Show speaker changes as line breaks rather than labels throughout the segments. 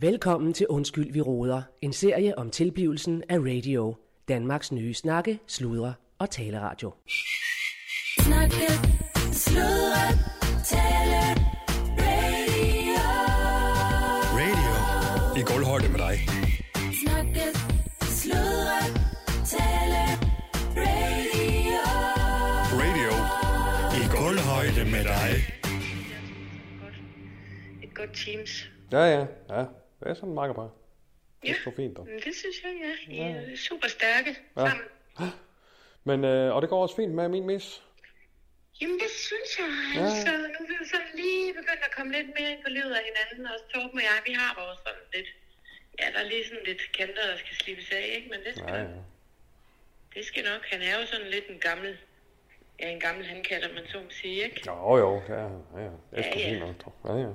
Velkommen til Undskyld, vi råder. En serie om tilblivelsen af radio. Danmarks nye snakke, sludre og taleradio.
Snakke, sludre, tale, radio.
Radio i gulvhøjde med dig.
Snakke, sludre, tale, radio.
Radio i gulvhøjde med dig.
et godt teams.
Ja, ja, ja. Det er sådan meget bare. Det er sgu fint, dog.
Men Det synes jeg, ja. I er super stærke
Ja.
sammen.
Men, øh, og det går også fint med min mis.
Jamen, det synes jeg. Altså, nu er vi jo sådan lige begyndt at komme lidt mere ind på livet af hinanden. Også Torben og jeg, vi har vores sådan lidt... Ja, der er lige sådan lidt kanter, der skal slippes af, ikke? Men det skal,
Ja,
nok,
ja.
det skal nok. Han er jo sådan lidt en gammel... Ja, en gammel hankatter, man så må sige, ikke?
Jo, jo, ja, ja, ja. Det er sgu
Ja, ja.
fint nok, dog. Ja, ja.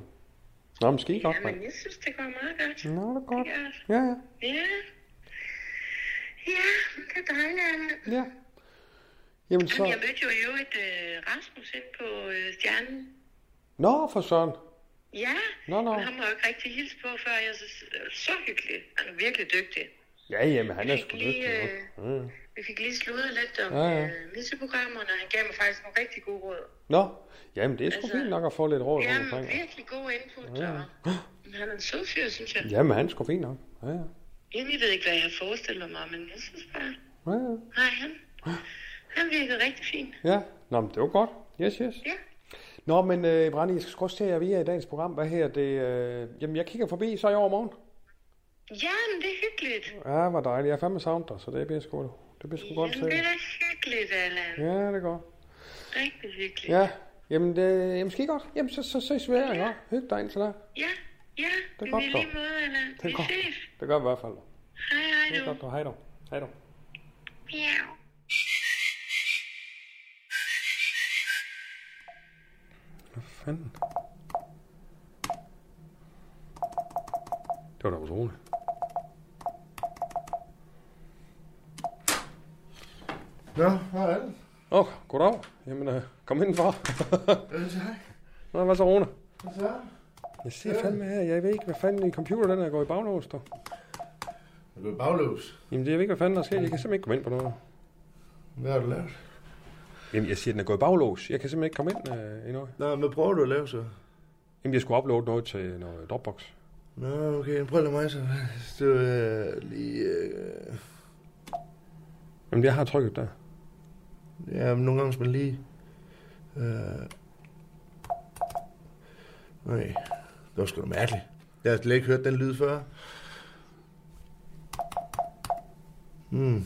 Nå, men skide godt,
Ja,
mand.
men jeg synes, det går meget godt.
Nå, det er godt.
Det gør det.
Ja, ja,
Ja. Ja, det er dejligt, Anna.
ja. Jamen
Jamen, jeg
så...
mødte jo i øvrigt øh, Rasmus ind på øh, Stjernen.
Nå, for søren.
Ja,
Nå, nå.
men ham har jeg jo ikke rigtig hilse på før. Jeg synes, det er så hyggelig. Han er virkelig dygtig.
Ja, jamen, han er
Vi
sgu
fik lige,
dygtig.
øh,
nok. Ja, ja.
vi fik lige sludret lidt om
Ja,
ja,
ja.
ja. Øh, misseprogrammerne, og han gav mig faktisk nogle rigtig gode råd.
Nå, jamen, det er sgu
altså,
fint nok at få lidt råd rundt
Jamen,
omkring.
virkelig god input. Ja. Og, han er en sød fyr, synes jeg. Ja.
Jamen, han er sgu fint nok. Ja, ja.
Jamen, jeg ved ikke, hvad jeg har forestillet mig, men jeg synes bare...
Ja, ja.
Nej, han, han virkede rigtig fint.
Ja, nå, men det var godt. Yes, yes.
Ja.
Nå, men øh, Brandi, jeg skal sgu også til jer via i dagens program. Hvad her det? Øh, jamen, jeg kigger forbi, så er jeg over morgen.
Ja, men det er hyggeligt.
Ja, hvor dejligt. Jeg er fandme savnet dig, så det bliver sgu, det bliver sgu godt
Jamen, det er
til.
da hyggeligt, Allan. Ja.
Ja, det er godt.
Rigtig hyggeligt.
Ja, jamen, det, jamen skal I godt? Jamen, så, så ses vi her, ja. Hyg dig indtil da.
ja. ja.
er
men
godt,
i
dog.
lige måde, Allan.
er
Vi
godt.
ses.
Det gør vi i hvert fald.
Hej, hej
Det er
du.
godt, du. Hej dog. Hej dog.
Miau.
Fanden. Det var da utroligt.
Nå, hvor er den?
Åh, oh, goddag. Jamen, øh, kom indenfor.
Øh, tak.
Nå, hvad så, Rune?
Hvad så?
Jeg ser fandme her. Jeg ved ikke, hvad fanden i computer den er gået i baglås, der.
Er du bagløs?
Jamen, det, jeg ved ikke, hvad fanden der sker. Jeg kan simpelthen ikke komme ind på noget.
Hvad har du lavet?
Jamen, jeg siger, den er gået i baglås. Jeg kan simpelthen ikke komme ind øh, i noget.
Nå, hvad prøver du at lave så?
Jamen, jeg skulle uploade noget til noget Dropbox.
Nå, okay, prøv at lade mig så. Så øh, lige... Øh,
Jamen, jeg har trykket der.
ja, men nogle gange skal man lige... Øh, nej, det var sgu da mærkeligt. Jeg har slet ikke hørt den lyd før. Hmm.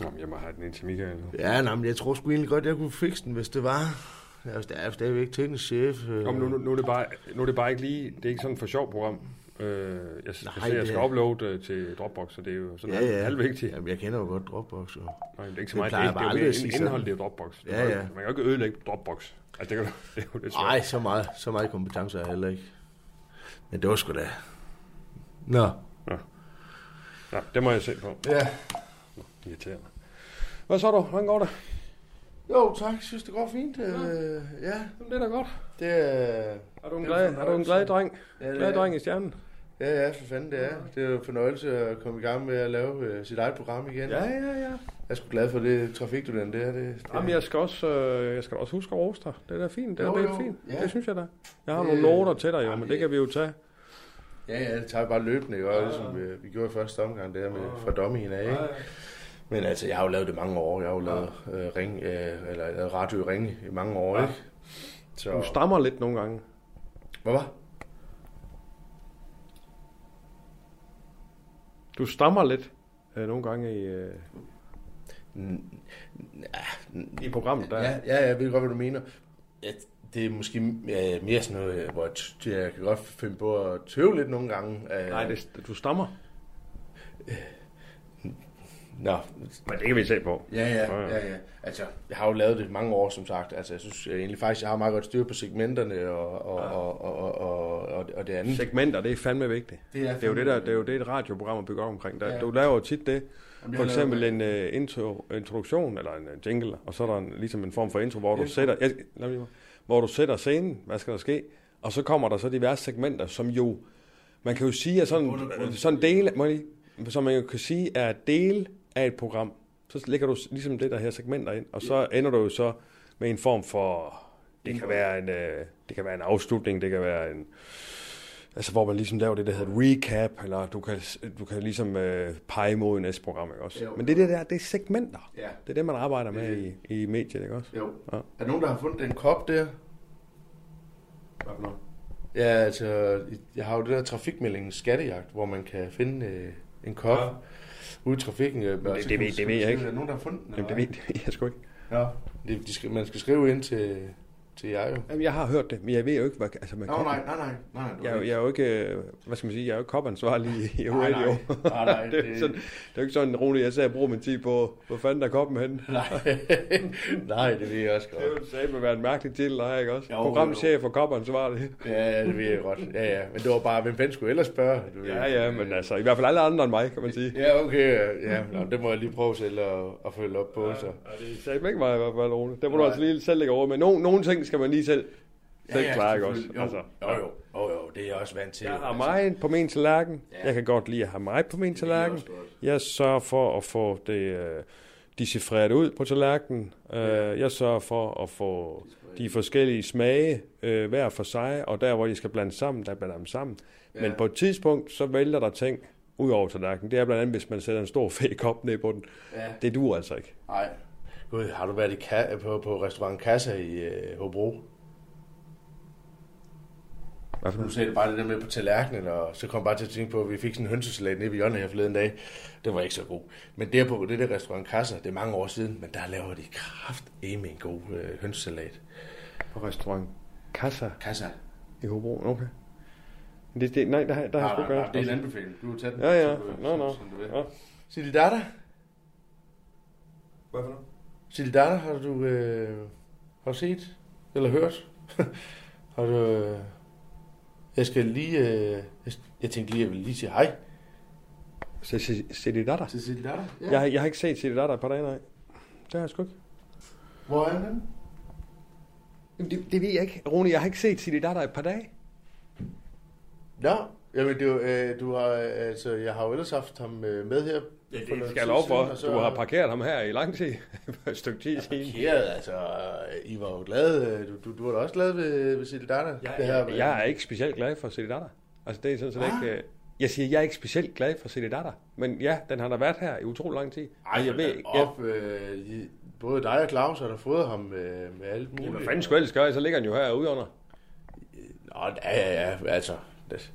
Jamen, jeg må have den ind til Michael nu.
Ja, nej, men jeg tror sgu egentlig godt, jeg kunne fikse den, hvis det var. Jeg er jo stadig- stadigvæk teknisk chef. Øh.
Kom, nu, nu, nu, er det bare, nu er det bare ikke lige... Det er ikke sådan for sjov program. Øh, jeg, Nej, jeg,
Nej,
ser, jeg
det
skal
er-
uploade øh, til Dropbox, så det er jo sådan
Ja,
halv-
ja.
halvvigtigt.
Jamen, jeg kender jo godt Dropbox. Og...
Nej, det er ikke så meget.
Det
Det,
plejer
er ikke- det,
bare
er jo
aldrig at sige
mere ind-
sådan.
indholdet, det er Dropbox.
Ja,
Man kan-
ja.
Man kan jo ikke ødelægge Dropbox. Altså, det, kan, du- det er jo lidt svært.
Nej, så meget, så meget kompetence er jeg heller ikke. Men det var sgu da... Nå.
Nå, det må jeg se på.
Ja.
Irriterende. Hvad så du? Hvordan går det?
Jo, tak. Jeg synes, det går fint. Øh, ja,
Jamen, det er da godt.
det er...
Er du en
Det er Øh,
glad,
en
er du en glad dreng?
Ja, det
Glad
er-
dreng i stjernen?
Ja, ja, for fanden, det er. Det er jo en fornøjelse at komme i gang med at lave øh, sit eget program igen.
Ja,
Jeg
ja, ja.
er sgu glad for det trafikstudent, det er det. det
Jamen, jeg skal også, øh, jeg skal da også huske at rose dig. Det er da fint. Det er
Jo,
da
jo.
helt fint.
Ja.
Det synes jeg da. Jeg har
Det-
nogle noter til dig, jo, men
Jamen,
det kan vi jo tage.
Ja, ja, det tager bare løbende, ikke? Og, ligesom øh, vi gjorde i første omgang der med fra dommien af, ikke? Men altså, jeg har jo lavet det mange år. Jeg har jo lavet, øh, ring, øh, eller, jeg har lavet radio i ringe i mange år, ikke? Så...
Du stammer lidt nogle gange.
Hvad var?
Du stammer lidt øh, nogle gange i, øh, i programmet. Der.
Ja, ja, jeg ved godt, hvad du mener. Ja, det er måske øh, mere sådan noget, øh, hvor jeg, t- jeg kan godt finde på at tøve lidt nogle gange. Øh,
Nej, det, du stammer.
Nå,
Men det kan vi se på.
ja, ja, ja, ja. Altså, jeg har jo lavet det mange år, som sagt. Altså, jeg synes øh, egentlig faktisk, jeg har meget godt styr på segmenterne og, og, og, og, og, og, og, og det andet.
Segmenter, det er fandme vigtigt.
Det er
det er jo
fandme
det, der, det er jo det, et radioprogram er bygget op omkring. Der,
Ja.
Du laver jo tit det. For
jeg
eksempel en uh, intro, introduktion, eller en uh, jingle, og så er der en, ligesom en form for intro, hvor du sætter, jeg, lad mig, lige- hvor du sætter scenen, hvad skal der ske, Og så kommer der så diverse segmenter, som jo, man kan jo sige, er sådan, sådan dele, må jeg lige, som man jo kan sige, er del af et program. Så lægger du ligesom det der her segmenter ind, og så ender du jo så med en form for, det kan være en, øh, det kan være en afslutning, det kan være en, altså hvor man ligesom laver det, der hedder et recap, eller du kan, du kan ligesom øh, pege mod næste program, ikke også?
Jo.
Men det, det der, det er segmenter.
Ja.
Det er det, man arbejder med
Det
i, i mediet, ikke også?
Jo.
Ja.
Ja. Er der nogen, der har fundet den kop der?
Hvad for noget?
Ja, altså, jeg har jo det der trafikmeldingen skattejagt, hvor man kan finde øh, en kop
Ja.
ja. ude i trafikken. Øh, og
det ved-
så kan man
det
skrive-
ved jeg ikke.
Er der nogen, der har fundet den?
Jamen, det
eller
ved det ved jeg sgu ikke.
hvad? Ja. Det, de skal, man skal skrive ind til, til jer jo.
Jamen, jeg har hørt det, men jeg ved jo ikke, hvad... Altså, man
Nå, nej, nej, nej, nej. nej
Jeg, er jo- jeg er jo ikke, øh, hvad skal man sige, jeg er jo ikke kopansvarlig i i
Nej,
radio.
nej. Nej, nej,
det, er jo
det-
sådan, det er jo ikke sådan, roligt, jeg sagde, at bruge min tid på, hvor fanden der er koppen henne. Det
nej. nej, det ved jeg også godt.
er jo sagde, at være en mærkelig titel, der er, ikke også?
Jo,
Jo,
jo, jo.
Programchef og kopansvarlig.
Ja, det ved jeg godt. Ja, ja. Men det var bare, hvem fanden skulle ellers spørge? Du ved.
Ja, ja, men altså, i hvert fald alle andre end mig, kan man sige.
Ja, okay. Ja, Nå, det må jeg lige prøve selv at, at følge op på. Så.
Det sagde ikke mig i hvert fald, Rune. Det må du
Nej.
altså lige selv lægge over med. Nogle, nogle ting skal man lige selv,
Ja,
selv
ja,
klare, ikke også? Altså,
selvfølgelig. Jo, jo, jo, jo, jo, det er jeg også vant til.
Jeg har
Altså,
mig på min tallerken.
Ja.
Jeg kan godt lide at have mig på min
kan jeg
tallerken.
også godt.
Jeg sørger for at få det øh, decifreret ud på tallerkenen. Øh, Jeg sørger for at få de forskellige smage øh, hver for sig, og der, hvor de skal blandes sammen, der blander jeg dem sammen. Men
Ja.
på et tidspunkt, så vælter der ting ud over tallerkenen. Det er blandt andet, hvis man sætter en stor fed kop ned på den.
Ja.
Det duer altså ikke.
Nej. Gud, har du været i ka- på, på restaurant Kassa i øh, Hobro?
Hvad for
Nu sagde det bare det der med på tallerkenen, og så kom jeg bare til at tænke på, at vi fik sådan en hønsesalat nede ved hjørnet her forleden dag. Den var ikke så god. Men der på det der restaurant Kassa, det er mange år siden, men der laver de kraft med en god øh, hønsesalat.
På restaurant Kassa
Kassa.
i Hobro. Okay. Det, det, nej, der, har- der har jeg sgu ikke
Nej, nej, nej,
været.
det er en anbefaling. Du har taget den.
Ja, ja.
som du-
Nå, nå.
som du vil.
Ja.
Sig dit datter.
Hvad for noget?
Sig dit datter, har du, øh, har du set? Eller hørt? har du... Øh, jeg skal lige... Øh, jeg, jeg tænkte lige, jeg ville lige sige hej.
Se, se, se det der der.
Til Silje Datter? Ja.
Jeg, har- jeg har ikke set Silje Datter på dagen, nej. Det har jeg sgu ikke.
Hvor er den?
Jamen, det, det ved jeg ikke. Rune, jeg har ikke set Silje Datter i et par dage.
Nå, jamen det, er jo, øh, du har, øh, altså, jeg har jo ellers haft ham øh, med her.
Ja,
for noget
det skal jeg
tid
lov for.
siden, og så-
Du har parkeret ham her i lang tid. et stykke tid siden.
Parkeret, altså, øh, I var jo glade. øh, Du, du, du var da også glad ved, ved Silje Datter. det her, øh,
Jeg er ikke specielt glad for Silje Datter. Altså, det er sådan set ikke... øh, Jeg siger, jeg er ikke specielt glad for Silje Datter. Men ja, den har da været her i utrolig lang tid.
Ej,
jeg ved ikke. Jeg,
Op, øh, I- både dig og Claus har da fået ham øh, med alt muligt.
Jamen, hvad fanden skulle jeg ellers gøre? Så ligger den jo her ude under.
Nå, ja, ja, ja, altså. Det.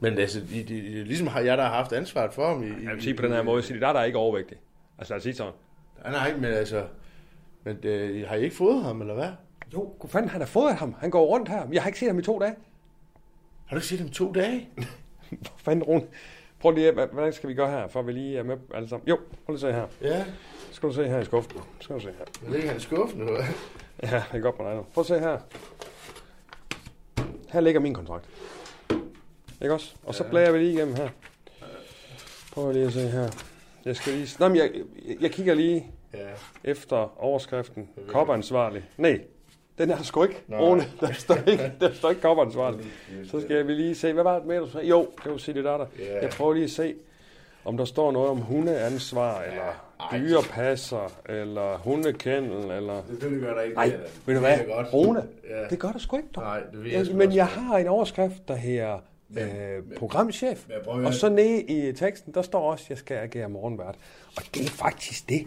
Men altså, I, I, I, ligesom har jeg, der har haft ansvaret for ham. I,
Jeg vil sige på den her måde, Silje Datter er ikke overvægtig. Altså, lad os sige sådan.
Nej, nej, men altså, men øh, I- har I ikke fået ham, eller hvad?
Jo, hvor fanden har da fået ham? Han går rundt her. Jeg har ikke set ham i to dage.
Har du ikke set ham to dage?
For fanden, Rune. Prøv lige, hvad, hvordan skal vi gøre her, for at vi lige er med alle sammen? Jo, prøv lige at se her.
ja.
Skal du se her i skuffen? Skal du se her.
Jeg ligger han i skuffen, eller hvad?
Ja, det er godt med dig nu. Prøv at se her. Her ligger min kontrakt. Ikke også? Og så blærer vi lige igennem her. Prøv lige at se her. Jeg skal lige... Nå, men jeg, jeg- jeg kigger lige
Ja.
efter overskriften. Kopansvarlig. Nej, den er der sgu ikke, Rune. Der står ikke, der står ikke kopansvarlig. Så skal vi lige se, hvad var det med, du sagde? Jo, det var Silje Datter.
Ja.
Jeg prøver lige at se, om der står noget om hundeansvar, eller
Ej.
dyrepasser, eller hundekendel, eller...
Selvfølgelig gør der ikke
Nej, ved du hvad, Rune,
Ja.
det gør der sgu ikke, dog.
Nej, det ved
Ja,
jeg sgu
Men
også
jeg
godt.
har en overskrift, der her øh, programchef,
men prøv at høre.
og så nede i teksten, der står også, jeg skal agere morgenvært. Og det er faktisk det.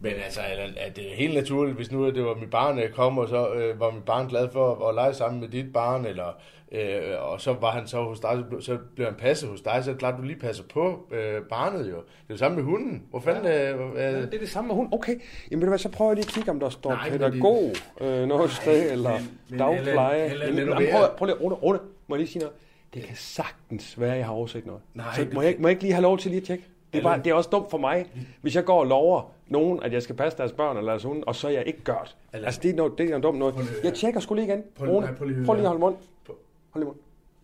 Men altså, er, er det helt naturligt, hvis nu at det var mit barn, der kom, og så øh, var mit barn glad for at, at lege sammen med dit barn, eller, øh, og så var han så hos dig, så blev, så blev han passet hos dig, så er det klart, du lige passer på øh, barnet jo. Det er jo samme med hunden. Hvor fanden... Ja. Øh, øh,
Det er det samme med hun. Okay, jamen ved du hvad, så prøver jeg lige at kigge, om der står
Nej,
Nej,
men
pædagog øh, noget sted, eller
men
dagpleje.
Ellen- Ellen,
Jamen,
vil du
jamen,
være-
prøv, prøv lige, Rune, Rune, må jeg lige sige noget? Det kan sagtens være, at jeg har overset noget.
Nej,
så
det-
må jeg, ikke- må jeg ikke lige have lov til lige at tjekke? Det er, bare, det er også dumt for mig,
Mm.
hvis jeg går og lover nogen, at jeg skal passe deres børn eller deres hunde, og så er jeg ikke gjort.
Ellen-
Altså, det er noget, det er noget dumt noget.
Prøv lige-
Jeg tjekker sgu lige igen.
Prøv lige-
Rune,
nej,
prøv
prøv lige-
lige at holde mund.
Prøv-
Hold lige mund.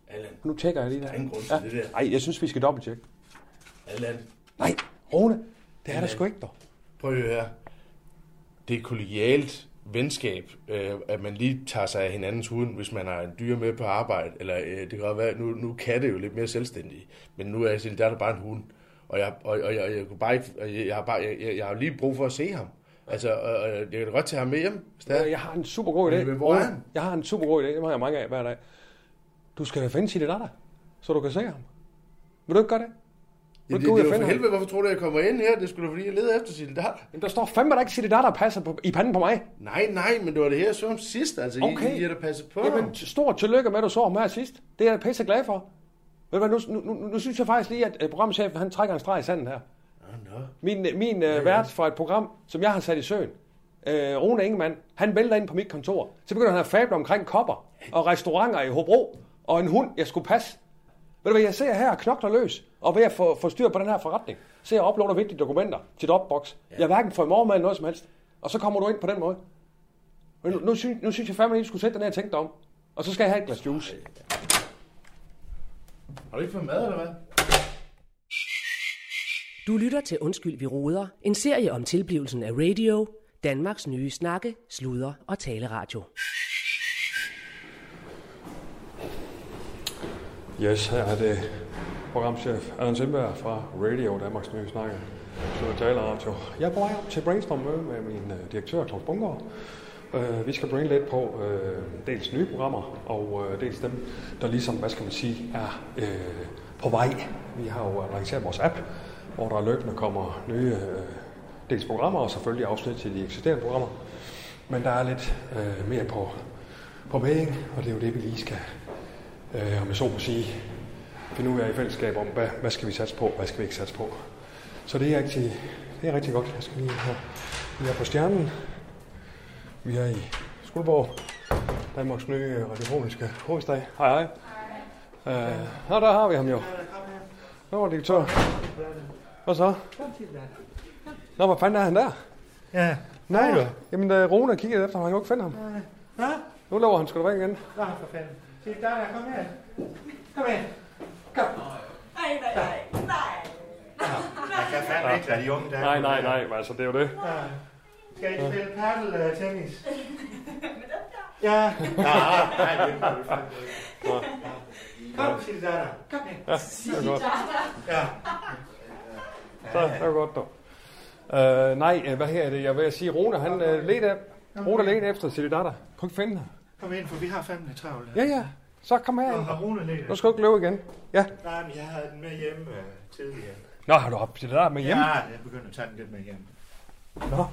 Allan,
Nu tjekker jeg lige der.
ingen grund til det der.
Ej, jeg synes, vi skal dobbelttjekke.
Allan,
Nej,
øh,
Rune, det er der sgu ikke, dog.
prøv at høre. Det er kollegialt. venskab, øh, at man lige tager sig af hinandens hund, hvis man har en dyr med på arbejde, eller øh, det kan godt være, nu, nu kan det jo lidt mere selvstændigt, men nu er jeg selv, der er der bare en hund, og jeg, og, og, jeg, jeg, kunne bare ikke, og jeg, jeg, har bare, jeg, jeg, jeg har lige brug for at se ham. Altså, og, og, jeg kan da godt tage ham med hjem.
Ja,
Stadig.
Øh, jeg har en super god idé.
Men hvor er han?
Jeg har en super god idé. Dem har jeg mange af hver dag. Du skal da finde sit datter, så du kan se ham. Vil du ikke gøre det? Vil du
Det,
ikke
det,
gå ud
det
og
er jo
finde
for
ham?
helvede, hvorfor tror du, jeg kommer ind her? Det skulle da fordi, jeg leder efter Silde Datter.
Jamen, der står fandme da ikke sit datter passer på, i panden på mig.
Nej, nej, men det var det her, jeg så om sidst. Altså, okay.
Okay.
I, I har da passet på
Jamen,
ham.
t- stort tillykke med, at du så ham her sidst. Det er jeg pisse glad for. Men nu, nu, nu, nu synes jeg faktisk lige, at øh, programchefen han trækker en streg i sanden her.
Nå, nå.
Min, øh, min øh, vært fra et program, som jeg har sat i søen, øh, Rune Ingemann, han vælter ind på mit kontor. Så begynder han at fable omkring kopper og restauranter i Hobro og en hund, jeg skulle passe. Ved du hvad, jeg ser her og knokler løs, og ved at få, få styr på den her forretning, så jeg uploader vigtige dokumenter til Dropbox. Jeg hverken får i morgen eller noget som helst. Og så kommer du ind på den måde. Men nu, nu, synes, nu synes jeg fandme, at I skulle sætte den her og tænke dig om. Og så skal jeg have et glas juice.
Har du ikke fået mad, eller hvad?
Du lytter til Undskyld, vi roder, en serie om tilblivelsen af radio, Danmarks nye snakke, sludder og taleradio.
Yes, her er det programchef Allan Sindberg fra Radio Danmarks Nye Snakke. Slå taler radio. Jeg er på vej op til brainstorm møde med min øh, direktør, Claus Bunker. Øh, vi skal brain lidt på øh, dels nye programmer, og øh, dels dem, der ligesom, hvad skal man sige, er øh, på vej. Vi har jo lanceret vores app, hvor der løbende kommer nye øh, dels programmer, og selvfølgelig afsnit til de eksisterende programmer. Men der er lidt øh, mere på, på vægen, og det er jo det, vi lige skal øh, om jeg så må sige, finde ud af i fællesskab om, hvad, hvad skal vi satse på, hvad skal vi ikke satse på. Så det er rigtig, det er rigtig godt. Jeg skal lige have, vi er på stjernen. Vi er i Skuldborg, Danmarks nye radiofoniske hovedstad. Hej hej. hej. Øh, nå, der har vi ham jo. Nå, direktør. Hvad så? Nå, hvor fanden er han der?
Ja.
Nej, jo. Jamen, da Rune kiggede efter ham, han kunne ikke finde ham.
Nå,
Nu lover han sgu da væk igen.
nå for fanden. Se, der er kom her. Kom her. Kom. Nej, nej, nej, nej. Jeg kan fandme ikke lade de unge der.
Nej, nej, nej, altså det er jo det.
Skal I spille paddle uh, tennis? Ja. Kom, Silde Datter. Kom her.
Det er godt.
Ja.
Så er det godt, dog. Uh, nej, øh, hvad her er det? Jeg vil sige, Rune, han uh, ledte af. Rune ledte efter Silje Datter. Kunne ikke finde hende.
Kom ind, for vi har fandme travlt.
Ja, ja. Så kom
Og
herind.
har Rune lidt.
Nu skal du ikke løbe igen. Ja.
Nej, men jeg havde den med hjemme uh, tidligere.
Nå, har du haft Silje Datter med hjemme?
Ja, jeg begyndte at tage den lidt med hjem.
Nå.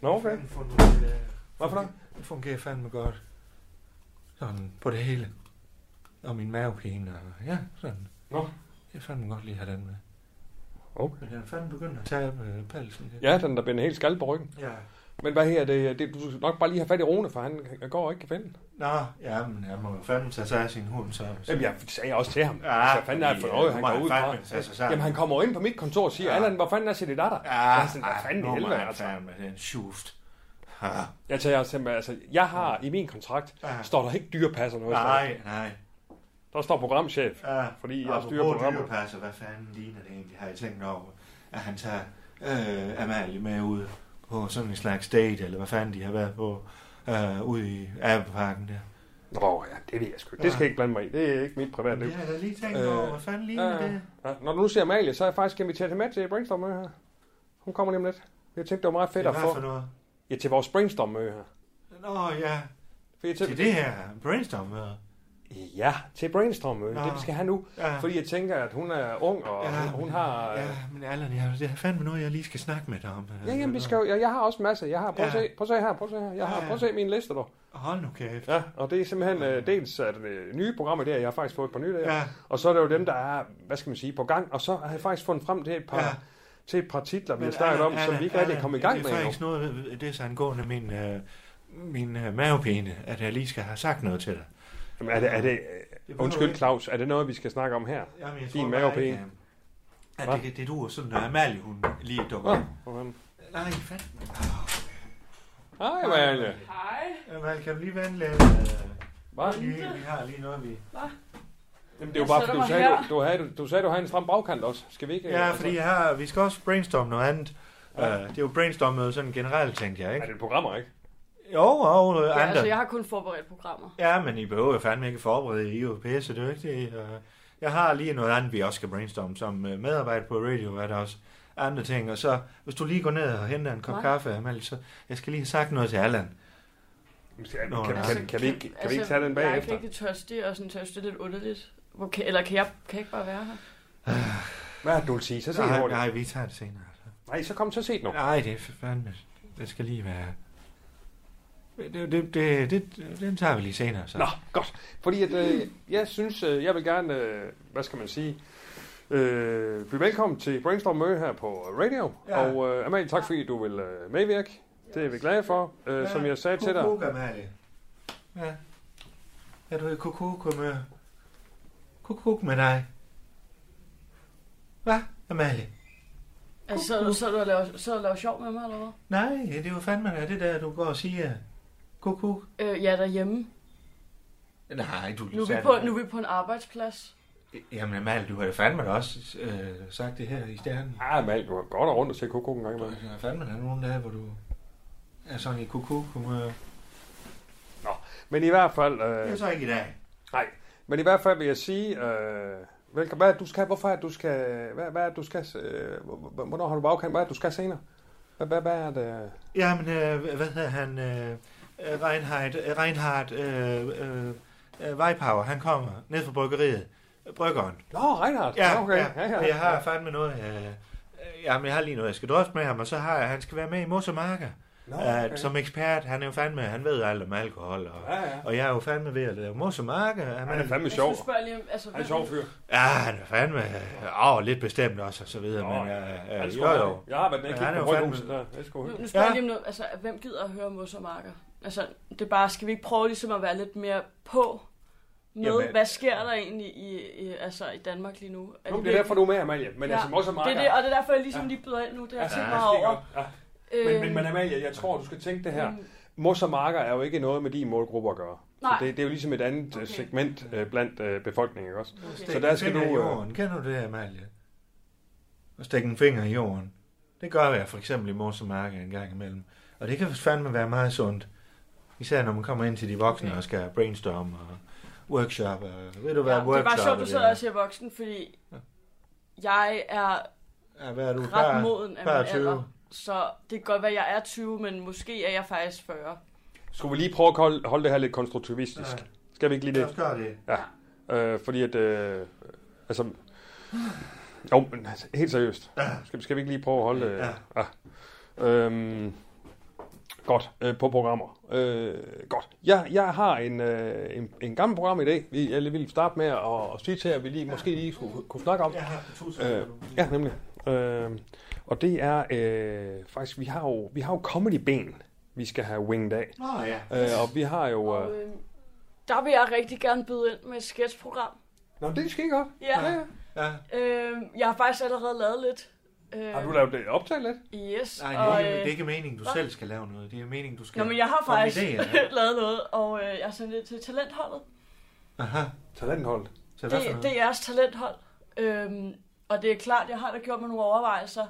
Nå, okay.
Den fungerer, øh,
Hvorfor da?
Den fungerer fandme godt. Sådan på det hele. Og min mavepine og ja, sådan.
Nå.
Jeg fandme godt lige have den med.
Okay.
Men den er fandme begyndt at tabe øh, pelsen.
Ja, den der binder helt skaldet på ryggen.
Ja.
Men hvad her er det? det? Du skal nok bare lige have fat i Rone, for han går og ikke kan finde den.
Nå, ja, men jeg må jo fandme tage sig af sin hund så.
Jamen, jeg sagde også til ham.
Ja,
altså, fanden er det for
fordi,
noget,
øh,
han
nu må
går
han
ud
fandme tage sig
fra.
sammen.
Jamen, han kommer ind på mit kontor og siger,
Ja.
Allan, hvor fanden er Silje Datter?
Ja,
Jeg er sådan, hvad
ej,
fanden i
Ah, nu må
helvede,
han
altså.
fandme, det er en schuft. Ja.
Jeg tager simpelthen, altså, jeg har i min kontrakt,
Ja.
står der ikke dyrepasser noget. sted.
Nej, nej.
Der står programchef.
Ja.
Fordi jeg styrer
Apropos
programmet.
dyrepasser, hvad fanden ligner det egentlig, har jeg tænkt over, at han tager øh, Amalie med ud på sådan en slags date, eller hvad fanden de har været på, øh, ude i Abbeparken der.
Nå ja, det ved jeg sgu ikke. Det skal jeg ikke blande mig i. Det er ikke mit privatliv.
Jeg har da lige tænkt
Øh,
over, hvad fanden
Ja,
ligner det?
ja. Når du nu ser Amalie, så er jeg faktisk inviteret hende med til brainstorm her. Hun kommer lige om lidt. Jeg tænkte, det var meget fedt
Det er
at
hvad for
få.
noget?
Ja, til vores brainstorm her.
Nå ja,
For jeg
til
tænkte,
det her brainstorm møde.
ja, til brainstorm Det
Nå.
vi skal have nu.
Ja.
Fordi jeg tænker, at hun er ung, og
Ja,
hun, hun
men-
har... øh,
Ja, men Allan, jeg, det er fandme noget, jeg lige skal snakke med dig om.
Ja, jamen, vi skal jo, jeg, jeg har også masser. Jeg har, prøv at
Ja.
se, prøv at se her, prøv at se her. Jeg har,
Ja.
prøv at se min liste, dog.
Øh, Hold nu kæft.
Ja, og det er simpelthen øh, dels er det øh, nye programmer der, jeg har faktisk fået et par nye der,
Ja.
og så er det jo dem, der er, hvad skal man sige, på gang, og så har jeg faktisk fundet frem til et par,
Ja.
til et par titler, vi har snakket om, som vi ikke rigtig er kommet i gang med
Det er
endnu.
faktisk noget, af det er så angående min, øh, min øh, mavepine, at jeg lige skal have sagt noget til dig.
Jamen, er det, er det,
behøver
øh, undskyld
ikke.
Claus, er det noget, vi skal snakke om her?
Jamen, jeg
Din
tror
mave
bare ikke,
pæn.
øh, At
Hva?
det, det, det duer sådan, når Amalie hun lige dukker.
Åh,
op.
oh,
Nej, fanden.
Hej, Amalie.
Øh, Amalie, kan du lige vende lidt?
Hvad?
Lige, vi har lige noget, vi...
Jamen, det er jo bare, fordi du sagde, du, du, havde, du sagde, du havde en stram bagkant også. Skal vi ikke?
Ja, fordi jeg har, vi skal også brainstorme noget andet. Øh, det er jo brainstormet sådan generelt, tænkte jeg,
Altså, Er
ikke?
det programmer, ikke?
Jo, og øh,
Ja,
andre.
altså, jeg har kun forberedt programmer.
Ja, men I behøver jo fandme ikke forberede jer. I er jo pisse dygtige. og Jeg har lige noget andet, vi også skal brainstorme som øh, medarbejder på radio, er der også andre ting. Og så, hvis du lige går ned og henter en kop
Nej.
kaffe, Amal, så jeg skal lige have sagt noget til Allan. Nå,
kan,
altså,
kan, kan, vi, ikke, kan vi ikke tage den
Jeg er ikke
bagefter?
rigtig tørstig, og sådan tørstig lidt underligt. Hvor kan, eller kan jeg, kan jeg ikke bare være her?
Hvad er det, du vil sige? Så se
Nej,
hurtigt.
nej, vi tager det senere.
Nej, så kom, så se nu.
Nej, det er fandme... Det skal lige være... Det, det, det, det, det, den tager vi lige senere, så.
Nå, godt. Fordi at, øh, jeg synes, øh, jeg vil gerne, øh, hvad skal man sige, øh, byde velkommen til Brainstorm Møge her på radio.
Ja.
Ja. Og øh, Amalie, tak fordi du vil øh, medvirke. Det er vi glade for. Øh, ja. Som jeg sagde til dig,
Kukuk, Amalie. Ja. Er du i kukuk-humør? Kukuk med dig. Hvad, Amalie?
Altså, så, så, er du og laver, så er du og laver sjov med mig, eller hvad?
Nej, det er jo fandme da det der, du går og siger. Kukuk.
Øh, ja, derhjemme.
Nej, du
Nu er, vi på, nu er vi på en arbejdsplads.
Jamen, Amalie, du har jo fandme da også øh, sagt det her i stjernen.
Ah, Mal, du går godt rundt og se koko en gang
Der
imellem.
er fandme da nogle dage, hvor du er sådan i kukuk-humør.
Men i hvert fald,
Det er
øh,
så ikke i dag.
nej, men i hvert fald vil jeg sige, øh, velkommen. Hvad er det, du skal? Hvorfor er det, du skal? Hvad, hvad er det, du skal? Øh, hvor- hvor- hvornår har du bagkant? Hvad er det, du skal senere? Hvad, hvad, hvad er det?
Jamen, øh, hvad- hvad hedder han? Øh, øh, Reinhardt, øh, Reinhardt øh, øh, øh, Weipower, han kommer ned fra bryggeriet. Øh, Bryggeren.
Nå, Reinhardt. okay.
ja, og jeg har fandme noget... Øh, øh, jamen, jeg har lige noget, jeg skal drøfte med ham, og så har jeg, han skal være med i Mossemarker.
Nå,
Okay.
okay.
Uh, som ekspert, han er jo fandme, han ved alt om alkohol, og,
Ja, ja.
og jeg er jo fandme ved at lave Mossemarker.
Han er fandme
Altså,
sjov.
du spørger lige, om- altså,
Han er
hvem-
sjov fyr.
Ja, han er fandme øh, åh, lidt bestemt også, og så videre,
Nå,
men
ja,
øh,
Han er
øh,
sgu
jo,
hurtig.
jo.
Jeg har været nede og kigge
Ja, han er
på
jo fandme-
rødhuset der. Det er sgu
Nu,
hyggeligt.
nu spørger jeg
Ja.
lige om noget. Altså, hvem gider at høre mos og marker? Altså, det er bare, skal vi ikke prøve ligesom at være lidt mere på med,
Jamen-
Jamen, hvad sker der egentlig i, i, altså, i Danmark lige nu? Er
Nu, det er
virkelig-
derfor, du er med, Amalie. Men altså, Moss og
det er
Marker...
det, og det er derfor, jeg ligesom lige byder ind nu. Det har jeg
Altså,
tænkt
det
mig
er skide
over. Øh. Mm.
godt. Ja. Men, men, men Amalie, jeg tror, du skal tænke det
Øhm,
her. Mos og marker er jo ikke noget med din målgruppe at gøre.
Nej.
Så det, det er jo ligesom et andet okay.
Okay.
segment øh, blandt øh, befolkningen, ikke også?
Okay.
Så der skal du...
finger i
Øh,
jorden. Kender du det, Amalie? At stikke en finger i jorden. Det gør jeg for eksempel i Mosemarken en gang imellem. Og det kan fandme være meget sundt. Især når man kommer ind til de voksne okay. og skal brainstorme og workshop. Og, ved du hvad
Ja,
workshop
det er bare sjovt, du
det
sidder og siger voksen, fordi jeg er
Ja, hvad er du?
ret
Bare-
moden af
bare
min
20.
alder. Så det kan godt være, at jeg er 20, men måske er jeg faktisk 40.
skulle vi lige prøve at holde, holde det her lidt konstruktivistisk?
Ja.
Skal vi ikke lige
Lad
det?
os gøre det.
Øh, fordi at... Øh, altså... Jo, men altså, helt seriøst. Skal, skal vi ikke lige prøve at holde... Øh,
Ja.
ah. øhm, godt, øh, på programmer. Øh, godt. Jeg, jeg har en, øh, en, en gammel program i dag, vi, jeg lige ville starte med at, at sige til jer, at vi lige, måske lige skulle kunne snakke om.
Jeg har tusind.
Øh, ja, nemlig. Øh, og det er øh, faktisk, vi har jo, vi har jo comedy-ben, vi skal have winged af.
Nå ja.
Øh, og vi har jo...
Og,
Øh,
øh, der vil jeg rigtig gerne byde ind med et sketchprogram.
Nå, det skal I godt.
Ja.
ja.
ja.
Øh, jeg har faktisk allerede lavet lidt. Øh,
Har du lavet det optaget lidt?
Yes.
Nej, det
og,
er, ikke,
øh,
det er ikke meningen, du
hvad?
selv skal lave noget. Det er meningen, du skal...
Nå, men jeg har
komme med
faktisk
Idéer.
lavet noget, og øh, jeg har sendt det til talentholdet.
Aha.
Talentholdet.
Så hvad for
Det,
noget?
det er jeres talenthold. Øhm, og det er klart, jeg har da gjort mig nogle overvejelser.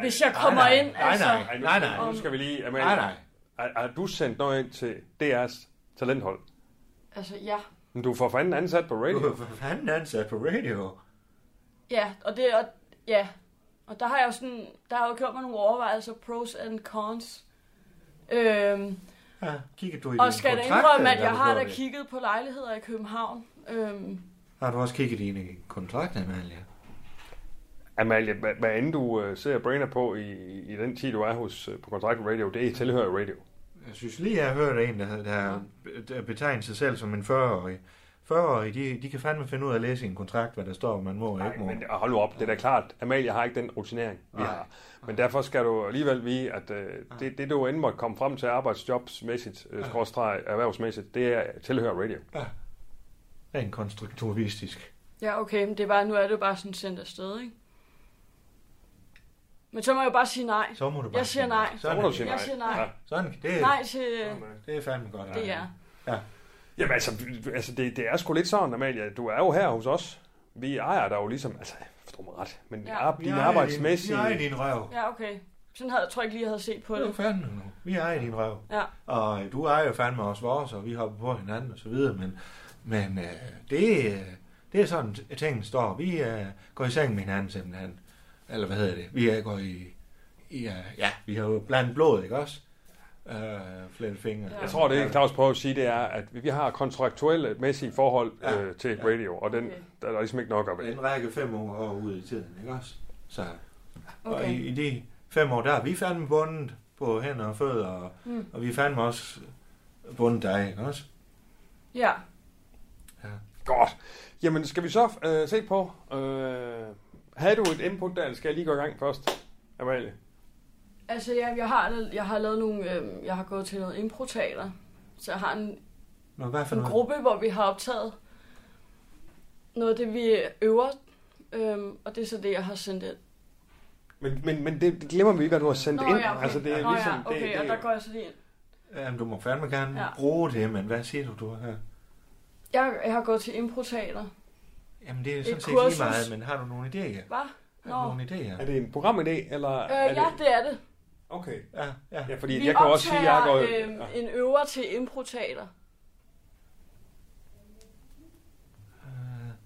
Hvis jeg kommer
nej,
ind,
nej,
altså...
nej.
nu- Nu skal vi lige... Amalie,
Nej, nej.
Har, har du sendt noget ind til DR's talenthold?
Altså, ja.
Men du er for fanden ansat på
Du
radio.
er for fanden ansat på radio.
Ja, og det og, ja. Og der har jeg jo sådan, der har jeg jo gjort mig nogle overvejelser, pros and cons. Øhm,
Ja, kigger du i
og
dine
skal jeg da
kontrakter,
indrømme, at
eller
jeg har
hvorfor
da
det?
kigget på lejligheder i København. Øhm,
Har du også kigget i øh, dine kontrakter, Amalia?
Amalie, hvad, hvad end du øh, sidder og brainer på i, i den tid, du er hos, øh, på kontrakt med radio, det er tilhører radio.
Jeg synes lige, jeg har hørt en, der, der, der betegner sig selv som en 40-årig. 40-årige, de, de kan fandme finde ud af at læse i en kontrakt, hvad der står, om man må og
Nej,
ikke må.
men hold nu op, det er da klart. Amalie har ikke den rutinering, vi
Nej.
har. Men derfor skal du alligevel vide, at øh, det, det, du end måtte komme frem til arbejdsjobsmæssigt, øh, skråstreg, erhvervsmæssigt, det er tilhører radio.
Rent konstruktivistisk.
ja, okay, men det er bare, nu er det jo bare sådan sendt afsted, ikke? Men så må jeg jo bare sige nej.
Så må du bare
Jeg siger
sige
nej.
Så må du sige
Jeg
nej.
siger nej.
Ja.
Sådan, det,
Nej til øh,
det er fandme godt.
det er.
Jamen altså, altså det, det er sgu lidt sådan, Amalie. Du er jo her hos os. Vi ejer dig jo ligesom, altså, forstår mig ret, men
Ja.
ja. din arbejdsmæssige...
Nej, din røv.
Ja, okay. Sådan havde jeg tror jeg ikke lige, jeg havde set på
Det er jo
det.
fandme nu. Vi ejer din røv.
Ja.
Og øh, du ejer jo fandme også vores, og vi hopper på hinanden og så videre, men, men øh, det, øh, det er sådan, t- tingene står. Vi øh, går i seng med hinanden simpelthen. Eller hvad hedder det? Vi øh, går i... i øh, ja, vi har jo blandt blod, ikke også? Øh, flere fingre.
Ja.
Jeg tror, det Claus prøver at sige, det er, at vi- vi har kontraktuelle mæssige forhold øh, til radio, og den,
Okay.
der er der ligesom ikke nok af det.
En række fem år, år ud i tiden, ikke også? Så, og
Okay.
i, i de fem år, der er vi fandme bundet på hænder og fødder, og, mm. og vi er fandme også bundet dig, ikke også?
Ja.
Godt. Jamen, skal vi så øh, se på... Øh, havde du et input der, eller skal jeg lige gå i gang først, Amalie?
Altså, jeg, jeg, har, jeg har lavet nogle... Øh, jeg har gået til noget improtaler. Så jeg har en,
Nå, hvad for
en
noget?
gruppe, hvor vi har optaget noget af det, vi øver. Øhm, og det er så det, jeg har sendt ind.
Men, men, men det, det glemmer vi, hvad du har sendt ind.
ja, okay.
Altså, det er
Nå,
ligesom...
ja, okay,
det, det,
og der går jeg så lige ind.
Jamen, du må fandme gerne
Ja.
ja. bruge det, men hvad siger du, du har?
Jeg, jeg har gået til improtaler.
Jamen, det er
Et
sådan set
kursus.
lige meget, men har du nogle idéer?
Hvad? Nå.
Har du nogle
Er
idéer?
det en programidé, eller...
Øh,
er
ja,
Det,
det er det.
okay.
Ja, ja.
Ja, fordi
Vi
jeg kan også sige, at jeg går...
optager, øhm,
ja.
en øver til improtaler.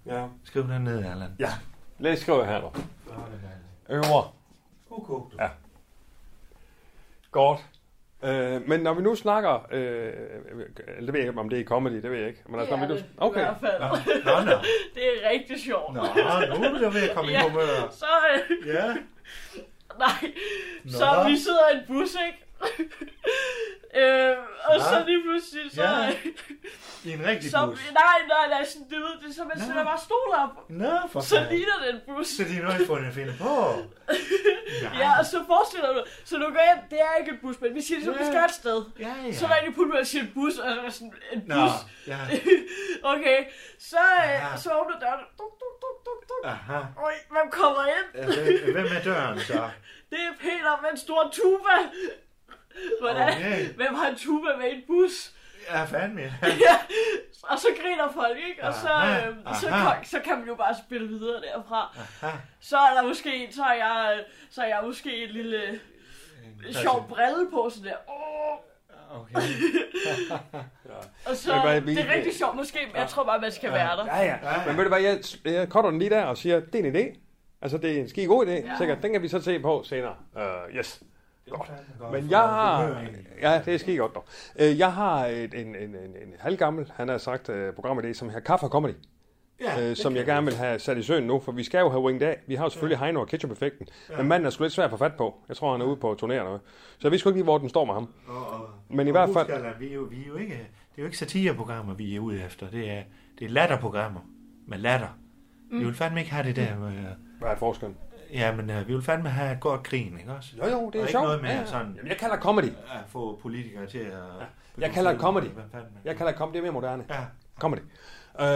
ja.
Skriv den ned, Allan.
Ja. Læs skrive her nu. Øver.
Okay.
Ja. Godt. Øh, men når vi nu snakker, øh, det ved jeg ikke, om det er i comedy, det ved jeg ikke. Men altså, når vi nu,
i
okay,
hvert fald.
Nå, nå.
Det er rigtig sjovt.
Nå, nu er du ved at komme i
Ja.
humør.
Så, øh,
Ja.
nej,
Nå.
så vi sidder i en bus, ikke? øh, og
Nå.
så lige pludselig, så...
Ja,
øh,
I en rigtig
så
bus.
nej, nej, nej, sådan, det, ud, det er som, at
Nå.
sætter bare stol op.
Nå, for
Så
fanden.
ligner den bus.
Så de er nødt til at finde på.
Ja, og så forestiller du, så du går ind, det er ikke en bus, men vi siger ligesom, vi
Ja.
skal et sted.
Ja, ja.
Så var jeg inde i pulmen og siger en bus, og så var jeg sådan, en
Nå,
bus.
ja.
okay, så, øh,
Aha.
så åbner døren. Duk, duk, duk, duk, duk.
Aha.
Oj, hvem kommer ind?
Ja, hvem- Hvem er døren så?
Det er Peter med en stor tuba. Hvordan?
Okay.
Hvem har en tuba med i en bus?
Ja, fandme.
Ja, og så griner folk, ikke? Og så,
Aha,
øh, så,
aha.
kan, så kan man jo bare spille videre derfra.
Aha.
Så er der måske, så er jeg, så er jeg måske et lille sjov brille på, sådan der. Åh,
Okay.
og så,
Jeg kan Ah. godt lide-
det er rigtig sjovt måske, men jeg tror bare, man skal være der.
Ja, ja.
ja.
Men ved du hvad, jeg, jeg cutter den lige der og siger, det er en idé. Altså, det er en skide god idé,
Ja.
ja. sikkert. Den kan vi så se på senere. Uh, yes. Godt.
Godt
Men
for
jeg
humør,
har... øh,
egentlig.
Ja, det er skide godt dog. Øh, Jeg har et, en, en, en, en halvgammel, han har sagt, uh, programidé, som her Kaffe og Comedy.
Ja,
øh, som jeg gerne vil have sat i søen nu, for vi skal jo have winget af. Vi har jo selvfølgelig Heino og Ketchup-effekten, men manden er sgu lidt svær at få fat på. Jeg tror, han er ude på turnéer eller noget. Så vi skal ikke lige, hvor den står med ham.
Og, og,
Men i
og
hvert
husk,
fald-
Allan, vi er, jo, vi er jo ikke, det er jo ikke satireprogrammer, vi er ude efter. Det er, det er latterprogrammer med latter. Mm. Vi vil fandme ikke have det der med...
Hvad er forskellen?
Ja, men øh, vi vil fandme have et godt grin, ikke også?
Jo, jo, det er
og ikke
sjovt.
noget med
Ja, ja.
sådan-
Jamen, jeg kalder comedy.
At få politikere til at...
Jeg kalder det comedy.
Hvad fanden-
Jeg kalder comedy, det er mere moderne.
Ja,
Comedy. Øh,
det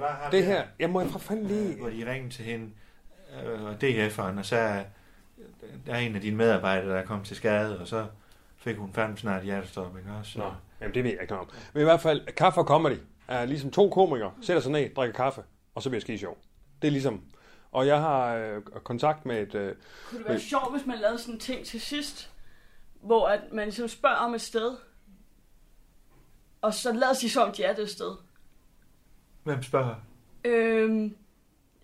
var ham
det
der,
her, jeg må jeg for fanden
øh,
lige...
Hvor de ringede til hende, øh, og DF'eren, og så er- der er en af dine medarbejdere, der er kommet til skade, og så fik hun fandme snart hjertestop, ikke også?
Nå, jamen det ved jeg ikke noget om. Men i hvert fald, kaffe og comedy er ligesom to komikere, sætter sig ned, drikker kaffe, og så bliver skide sjov. Det er ligesom... Og jeg har øh, kontakt med et... Øh,
Kunne det være sjovt, hvis man lavede sådan en ting til sidst, hvor at man ligesom spørger om et sted, og så lader de som, om de er det sted.
Hvem spørger?
Øhm,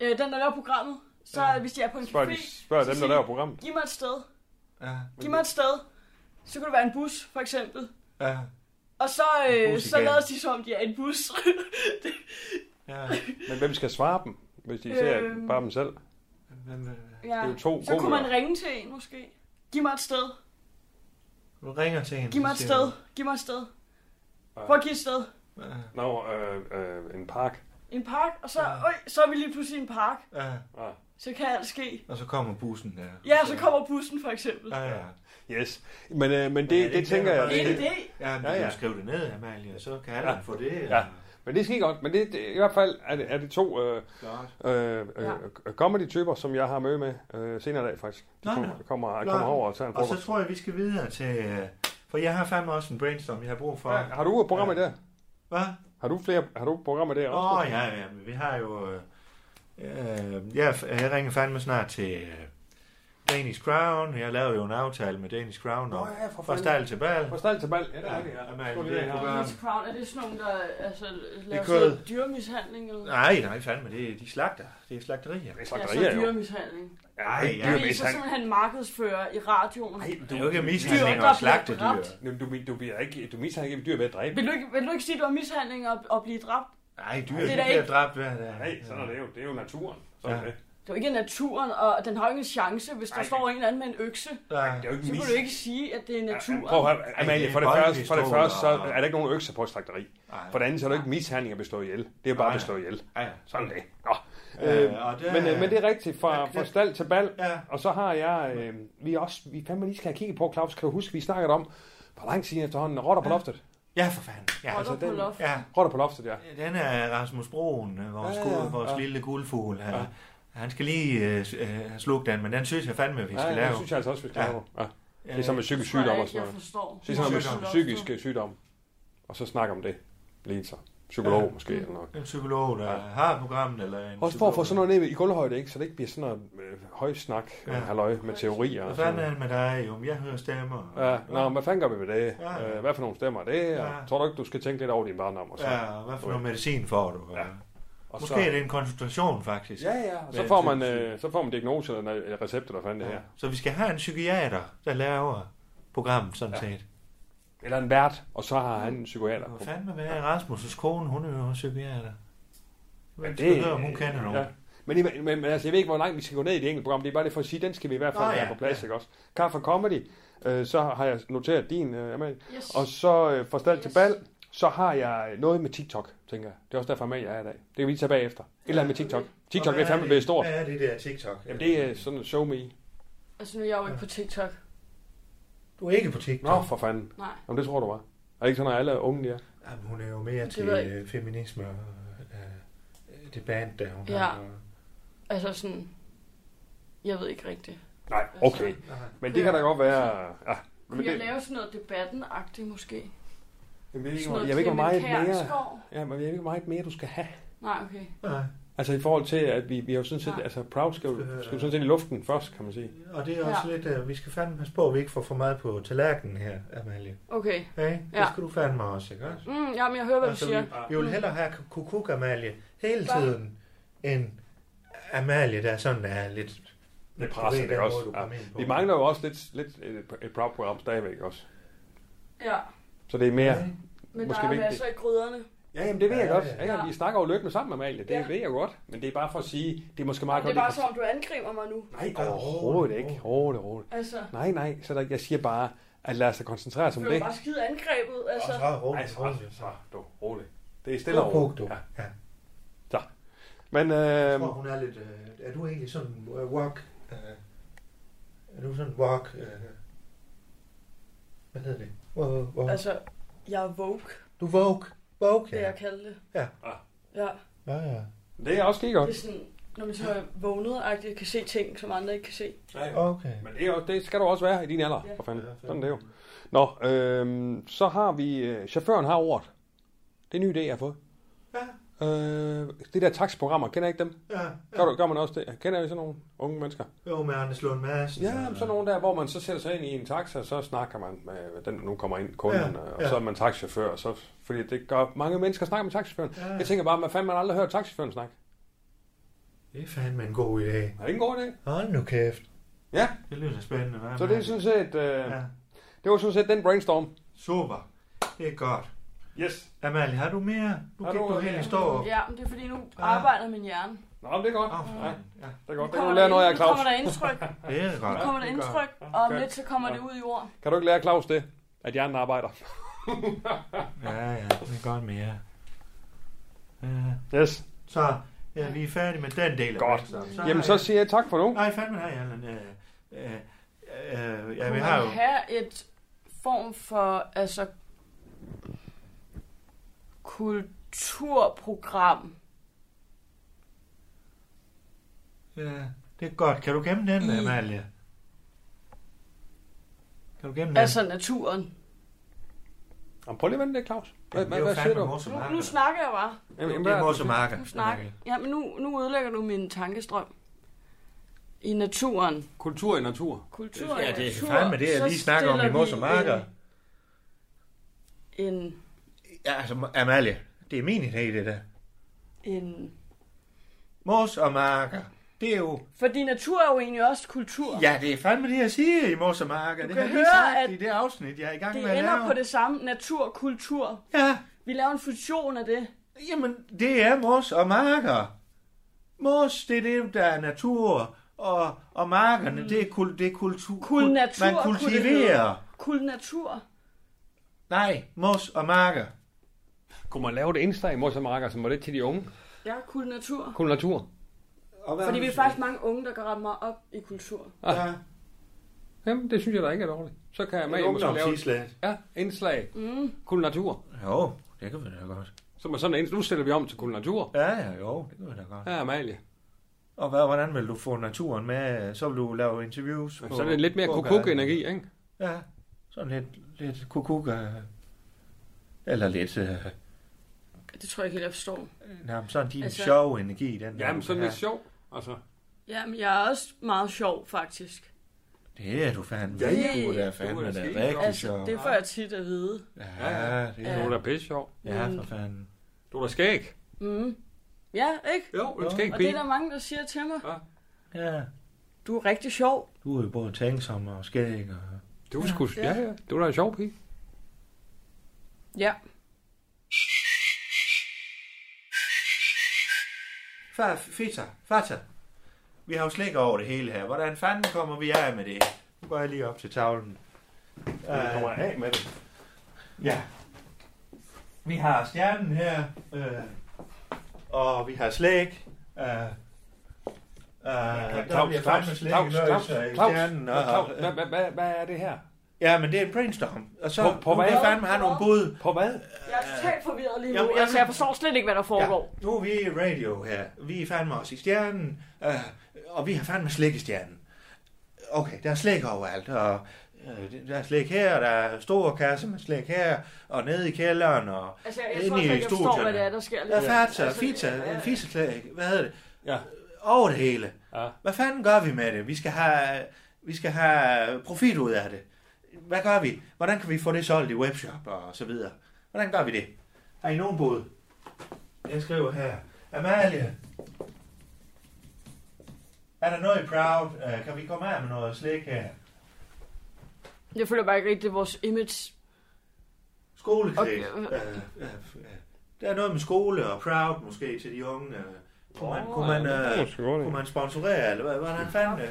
øh, den, der laver programmet, så ja. hvis de er på en
spørg, de,
café,
spørg
så
dem, der
siger
laver
de,
programmet.
Giv mig et sted.
Ja,
Giv mig et sted. Så kunne det være en bus, for eksempel.
ja,
Og så,
En
øh,
bus
så
igen.
lader de som, om de er en bus. det,
ja.
Men hvem skal svare dem, hvis de ser
Øhm.
bare dem selv?
Hvem, øh,
ja.
Det er jo to
så kunne
komikere.
man ringe til en, måske. Giv mig et sted.
Du ringer til hende.
Giv mig et
så siger
sted. Giv mig et sted. Prøv at give et sted.
du, "Ah,
Nå, øh, øh, en park.
En park, og så,
Ja.
øj, så er vi lige pludselig i en park.
ah."
Så kan alt ske.
Og så kommer bussen der.
Ja, så kommer bussen, for eksempel.
Ja, ja.
Yes. Men, øh, men det,
Ja,
ja,
det
det,
er
det tænker
den,
jeg...
der
Det er
Det,
en
det,
idé.
Ja, men
Ja,
ja, ja.
ja.
du skrive det ned, Amalie, og så kan alle
Ja.
ja. få det.
Ja. men det er skide godt. Men det, det, i hvert fald er det, er det to øh,
Godt.
øh,
Ja.
øh, comedy-typer, som jeg har møde med øh, senere i dag, faktisk. De
Nå, nå.
kommer, kommer,
Nå.
kommer over og tager en
Og så
frokost.
tror jeg, vi skal videre til... øh, For jeg har fandme også en brainstorm, jeg har brug for.
Ja, har du programmer der?
Hvad?
Har du flere har du programmer der
Åh,
også?
oh, ja, ja, men vi har jo... Øh, øh, jeg, jeg ringer fandme snart til... Øh, Danish Crown. Jeg lavede jo en aftale med Danish Crown om
ja, for
fra stejl til bal.
Fra stald til bal. Ja, det
Ja,
er rigtigt.
og man-
Skål i dag,
det-
Carl.
Miss Crown, er det sådan nogen, der altså, laver
kunne-
sådan noget dyremishandling? Eller?
Nej, nej, fandme, det er, de slagter. Det er slagterier.
Det er
ja,
slagterier,
så
jo.
dyremishandling.
Ej,
Ej,
ej.
Fordi så
dyremishandling.
simpelthen markedsfører i radioen.
Det er jo ikke
Dyr,
mishandling
der
at slagte
bliver
dyr.
dræbt.
Jamen, Du, du bliver ikke, du misser ikke et dyr ved at dræbe.
Vil du, ikke, vil du ikke sige, at det var mishandling at, at blive dræbt?
Nej, dyr
Det er
de
da
bliver
ikke-
dræbt hver dag.
Nej, sådan er det jo. Det er jo naturen. Sådan er
Ja.
det.
Det var ikke naturen, og den har jo ingen chance, hvis der
Ej.
står en eller anden med en økse.
Det
Nej.
er jo ikke
Så
mis.
kunne du ikke sige, at det er naturen.
Prøv at høre, Amalie,
det er
for det,
en
første, for det
boldpistol,
første, så
og-
er der ikke nogen økser på et slagteri. For det andet, så er der ikke mishandling at bestå ihjel. Det er bare
Nej.
at bestå ihjel.
Ja,
Sådan er det. Nå.
Ja,
Øh,
og det-
men, øh, men det er rigtigt, fra,
det-
fra stald til bal.
Ja.
Og så har jeg, øh, vi er også, vi fandme lige skal have kigget på, Claus, kan du huske, vi snakkede om, hvor lang tid efterhånden, rotter på loftet.
ja for fanden. Ja,
Rotter
altså,
på
den-
loft.
ja.
Rotter på loftet, ja.
Den er Rasmus Broen, øh, vores,
Ja,
ja,
ja,
ja, vores
ja.
ja. lille guldfugl. Han,
Ja.
ja. han skal lige øh, s- øh, slukke den, men den synes jeg fandme, vi skal
Ja,
lave.
det synes jeg altså også, vi skal
Ja.
lave. Ja. Det er som med
Det
psykisk
tror jeg
sygdom og
ikke,
sådan
jeg
noget.
forstår.
Så Det er sådan noget
Sygdom.
med psykiske sygdomme. Og så snakke om det. Lidelser. Psykolog
Ja.
måske eller noget.
En psykolog, der
Ja.
ja. har programmet, eller en
Også for at få sådan noget ned i gulvhøjde, ikke? så det ikke bliver sådan noget øh, højsnak, ja.
Ja.
halløj med teorier.
Hvad
Og
fanden
sådan.
er
noget.
det med dig? Jo, men jeg hører stemmer.
Ja, nå, men hvad fanden gør vi ved det?
Ja.
Ja. Hvad for nogle stemmer er det? Og
Ja.
Tror du ikke, du skal tænke lidt over din barndom? Og så,
ja, og hvad for noget medicin får du? Ja.
og
Måske
så,
er det en konsultation, faktisk.
Ja, ja. Og så
Med
får man,
psykisk
øh, så får man diagnose eller en recept, eller hvad fanden det her.
Så vi skal have en psykiater, der laver programmet, sådan ja. set.
Eller en vært, og så har han en psykiater.
Hvad fanden med være Rasmus' kone, hun er jo psykiater. Men
det-
det, høre, om hun kender nogen.
Ja. Men, I- men, men altså, jeg ved ikke, hvor langt vi skal gå ned i det enkelte program. Det er bare det for at sige, den skal vi i hvert fald
Nå, ja,
have på plads,
ja.
ikke også? Kaffe og Comedy, øh, så har jeg noteret din, øh, Amalie.
Yes.
Og så øh, fra stald yes. til
Yes.
bal, så har jeg noget med TikTok, tænker jeg. Det er også derfor, med jeg er i dag. Det kan vi lige tage bagefter. Et eller andet med TikTok. TikTok det er fandme blevet stort.
Hvad er det der TikTok?
Jamen, det er sådan en show me.
Altså, nu er jeg jo ikke på TikTok.
Du er ikke på TikTok.
Nå, for fanden.
Nej.
Jamen, det tror du var. Er det ikke sådan, at alle unge de er?
Jamen, hun er jo mere
Det
til
ved jeg ikke.
øh, feminisme og øh, øh, det band, der hun
Ja.
har.
Altså sådan... Jeg ved ikke rigtigt.
Nej, okay. Men det kan da godt være... Ja, men
Kunne jeg
det,
lave sådan noget debatten-agtigt måske?
jeg ved ikke,
Sådan
hvor-
noget
jeg ved ikke, hvor meget
Clement
mere...
Kjærsgaard?
Ja, men jeg ved ikke, hvor meget mere du skal have.
Nej, okay.
Nej.
Altså i forhold til, at vi, vi har jo sådan set,
Nej.
altså Proud skal jo, skal jo sådan set i luften først, kan man sige.
Og det er også ja. lidt, øh, vi skal fandme passe på, at vi ikke får for meget på tallerkenen her, Amalie.
Okay.
Hey, ja. Det
Ja.
skal du fandme også, ikke også?
Mm, jamen, jeg hører, hvad du
Altså, vi,
siger.
vi vil hellere have kukuk Amalie hele
Bare-
tiden, end Amalie, der sådan er lidt...
Lidt presset, ikke også? Ja. Vi mangler jo også lidt, lidt et, et Proud program stadigvæk også.
Ja.
Så det er mere...
Ja.
Men
Måske
der er
vigtigt.
masser i krydderne.
Ja, jamen det ved jeg
Ja,
godt.
ja.
Ja, ja. Vi snakker jo løbende sammen med Amalie, det
Ja.
ved jeg jo godt. Men det er bare for at sige, det er måske meget
Det er
godt...
bare som om, du angriber mig nu.
Nej, overhovedet ikke. Roligt, roligt.
Altså,
Nej, nej, så der, jeg siger bare, at lad os da koncentrere os om
du er jo
det.
bare skide angrebet. Altså,
Og så
Nej,
roligt,
så,
roligt.
så, du, roligt. Det er stille og
Kukuk,
roligt.
du.
Ja.
Ja.
Men
Jeg
øh,
tror, hun er lidt... Øh, er du egentlig sådan en øh, walk... Øh, er du sådan en walk... Øh, hvad hedder det? Walk, walk. Altså,
altså jeg er woke,
du er woke. Woke,
vil
ja.
jeg kalde det.
Ja.
Ah.
Ja,
Ja, ja.
det er også lige
det
godt.
er sådan, når man så er vågnet kan se ting, som andre ikke kan se.
Okay.
Men det, er jo, det skal du også være i din alder.
Ja.
For fanden.
Ja,
Sådan er det jo. Nå, øhm, så har vi... Øh, chaufføren har ordet. Det er en ny idé, jeg har fået.
Ja,
Øh, det der taxprogrammer, kender I ikke dem?
ja.
Gør, du, gør man også det? Kender I sådan nogle unge mennesker?
Jo, med Anders Lund Madsen.
Ja, men sådan nogle der, hvor man så sætter sig ind i en taxa, og så snakker man med den, der nu kommer ind, kunden, ja,
Ja,
og
ja.
så er man taxichauffør. Og så, fordi det gør mange mennesker snakker med taxichaufføren.
Ja.
Ja. Jeg tænker bare, hvad fanden man har aldrig hørt taxichaufføren snakke?
Det er fandme en god idé.
Er det ikke en god idé?
Hold nu kæft.
Ja,
Det lyder spændende, hvad?
så det er sådan set, øh, ja.
Ja.
det var sådan set den brainstorm.
Super. Det er godt.
Yes.
Amalie, har du mere? Nu
Har
gik
du
du
mere?
helt i stå.
Ja, men det er fordi, nu
Ah.
arbejder min hjerne.
Nå, men det er godt.
Åh, for
Nej,
fanden. Ja,
det er godt.
Nu
Det kan du
kommer
lære
der-
noget af
nu
Claus.
kommer der indtryk.
det er
Nu
godt.
kommer der
det er
indtryk, og om
Okay.
lidt så kommer det ud i ord.
Kan du ikke lære Claus det? At hjernen arbejder.
Ja, ja, det er godt mere. Ja.
Yes.
Så ja, vi er færdige med den del af
Godt.
brainstorm.
Jamen, så siger jeg tak for nu.
Nej, fandme har jeg en... Øh, øh, øh, ja, vi
Kunne
har
man
jo...
have et form for, altså, kulturprogram
Ja, det er godt. Kan du gemme den,
I-
Amalie? Kan du gemme den?
Altså naturen.
Jamen, prøv lige at vente det, Claus. Hvad,
Jamen,
hvad,
det er jo
hvad siger
fandme
du?
Morse
Nu,
Marker.
nu snakker jeg bare.
Jamen,
Det
hvad-
er Morse Marker.
Nu snakker jeg. Ja, men nu, nu ødelægger du min tankestrøm. i naturen.
Kultur i natur.
Kultur
Ja,
i
det er
natur,
fandme det, jeg
så
lige snakker om i
stiller
Mos og
vi
Marker.
En, en,
Ja, altså, Amalie, det er min idé, det der.
en...
Mos og marker. Det er jo...
Fordi natur er jo egentlig også kultur.
Ja, det er fandme det, jeg siger i Mos og marker. Det
kan
har jeg lige
høre,
sagt
at
i det afsnit, jeg er i gang med
Det
at
ender
lave.
på det samme. Natur, kultur.
Ja,
Vi laver en fusion af det.
Jamen, det er mos og marker. Mos, det er det, der er natur, og, og markerne, det er, kul, det er kultur.
Mm. Kul natur,
man
kunne det
kultiverer.
hedde. Kul natur.
Nej, mos og marker.
Kunne man lave det insta i Mosamakker, som var det til de unge?
Ja, kul natur.
Kun natur.
Og hvad
Fordi
har
vi
du
er faktisk mange unge, der går ret meget op i kultur.
sagt? Ja,
Jamen, det synes jeg da ikke er dårligt. Så kan jeg
med
med måske lave
ungdomsislæt.
ja, indslag. Mm. Kun natur.
Jo, det kan vi da godt.
Som er sådan en, nu stiller vi om til kun natur.
Ja, ja, jo, det kan vi da godt.
Ja, Amalie.
Og hvad, hvordan vil du få naturen med? Så vil du lave interviews?
Så
på-
er det lidt mere
på-
kukuk-energi, ikke?
Ja, sådan lidt, lidt kukuk. øh, Eller lidt, øh,
Det tror jeg ikke helt, jeg forstår.
nærmest sådan din
Altså-
altså, sjove energi. Den der,
Jamen,
du
sådan
kan
lidt sjov. Altså,
Jamen, jeg er også meget sjov, faktisk.
Det er du fandme.
Ja, ja.
du er da
Du
fandme
er
da
da skide
rigtig altså,
Altså,
sjov.
det får jeg tit at vide.
Ja, det
du
er
er
du.
da pisse sjov.
Ja, for fanden.
Du er da skæg.
Mm. Ja, ikke?
Jo, en skæg
Og det
pige.
er der mange, der siger til mig.
Ja,
Du er rigtig sjov.
du er jo både tænksom og skæg. Og...
Du er sgu, ja, ja. Du er da en sjov pige.
Ja.
Far, feta, fata. Vi har jo slik over det hele her. Hvordan fanden kommer vi af med det? Nu går jeg lige op til tavlen.
Jeg kommer af med det.
Ja. Vi har stjernen her, øh, og vi har slæg. Øh, øh, der bliver fandme slik i
Claus,
nøjelse i
Claus,
stjernen, og-
Claus, hvad- hvad- hvad- hvad er det her?
Ja, men det er en brainstorm. Og så
På- på
nu vil
hvad?
jeg fandme have nogle bud.
På hvad?
Jeg er totalt forvirret lige
Jamen,
nu. Jamen,
jamen.
altså, jeg forstår slet ikke, hvad der foregår.
Ja, nu er vi i radio her. Vi er fandme også i stjernen, øh, og vi har fandme slik i stjernen. Okay, der er slik overalt, og øh, der er slik her, og der er store kasser med slik her, og nede i kælderen, og
Altså, jeg, jeg
Inde
tror slet
i
ikke, jeg forstår,
studierne.
hvad det er, der sker lige
der
nu.
er fatser,
Altså,
fitser,
ja.
en fiseslæg, hvad hedder det?
Ja.
Over det hele.
Ja.
Hvad fanden gør vi med det? Vi skal have, vi skal have profit ud af det. Hvad gør vi? Hvordan kan vi få det solgt i webshop og så videre? Hvordan gør vi det? Har I nogen bud? Jeg skriver her. Amalie. Er der noget i Proud? Øh, Kan vi komme af med noget slik her?
Jeg føler bare ikke rigtigt, det er vores image.
Skoleklæde.
Okay.
Øh, øh, øh. Der er noget med skole og Proud måske til de unge. øh. Kunne man, kunne man, øh, kunne man sponsorere, eller hvad, hvordan fanden? øh?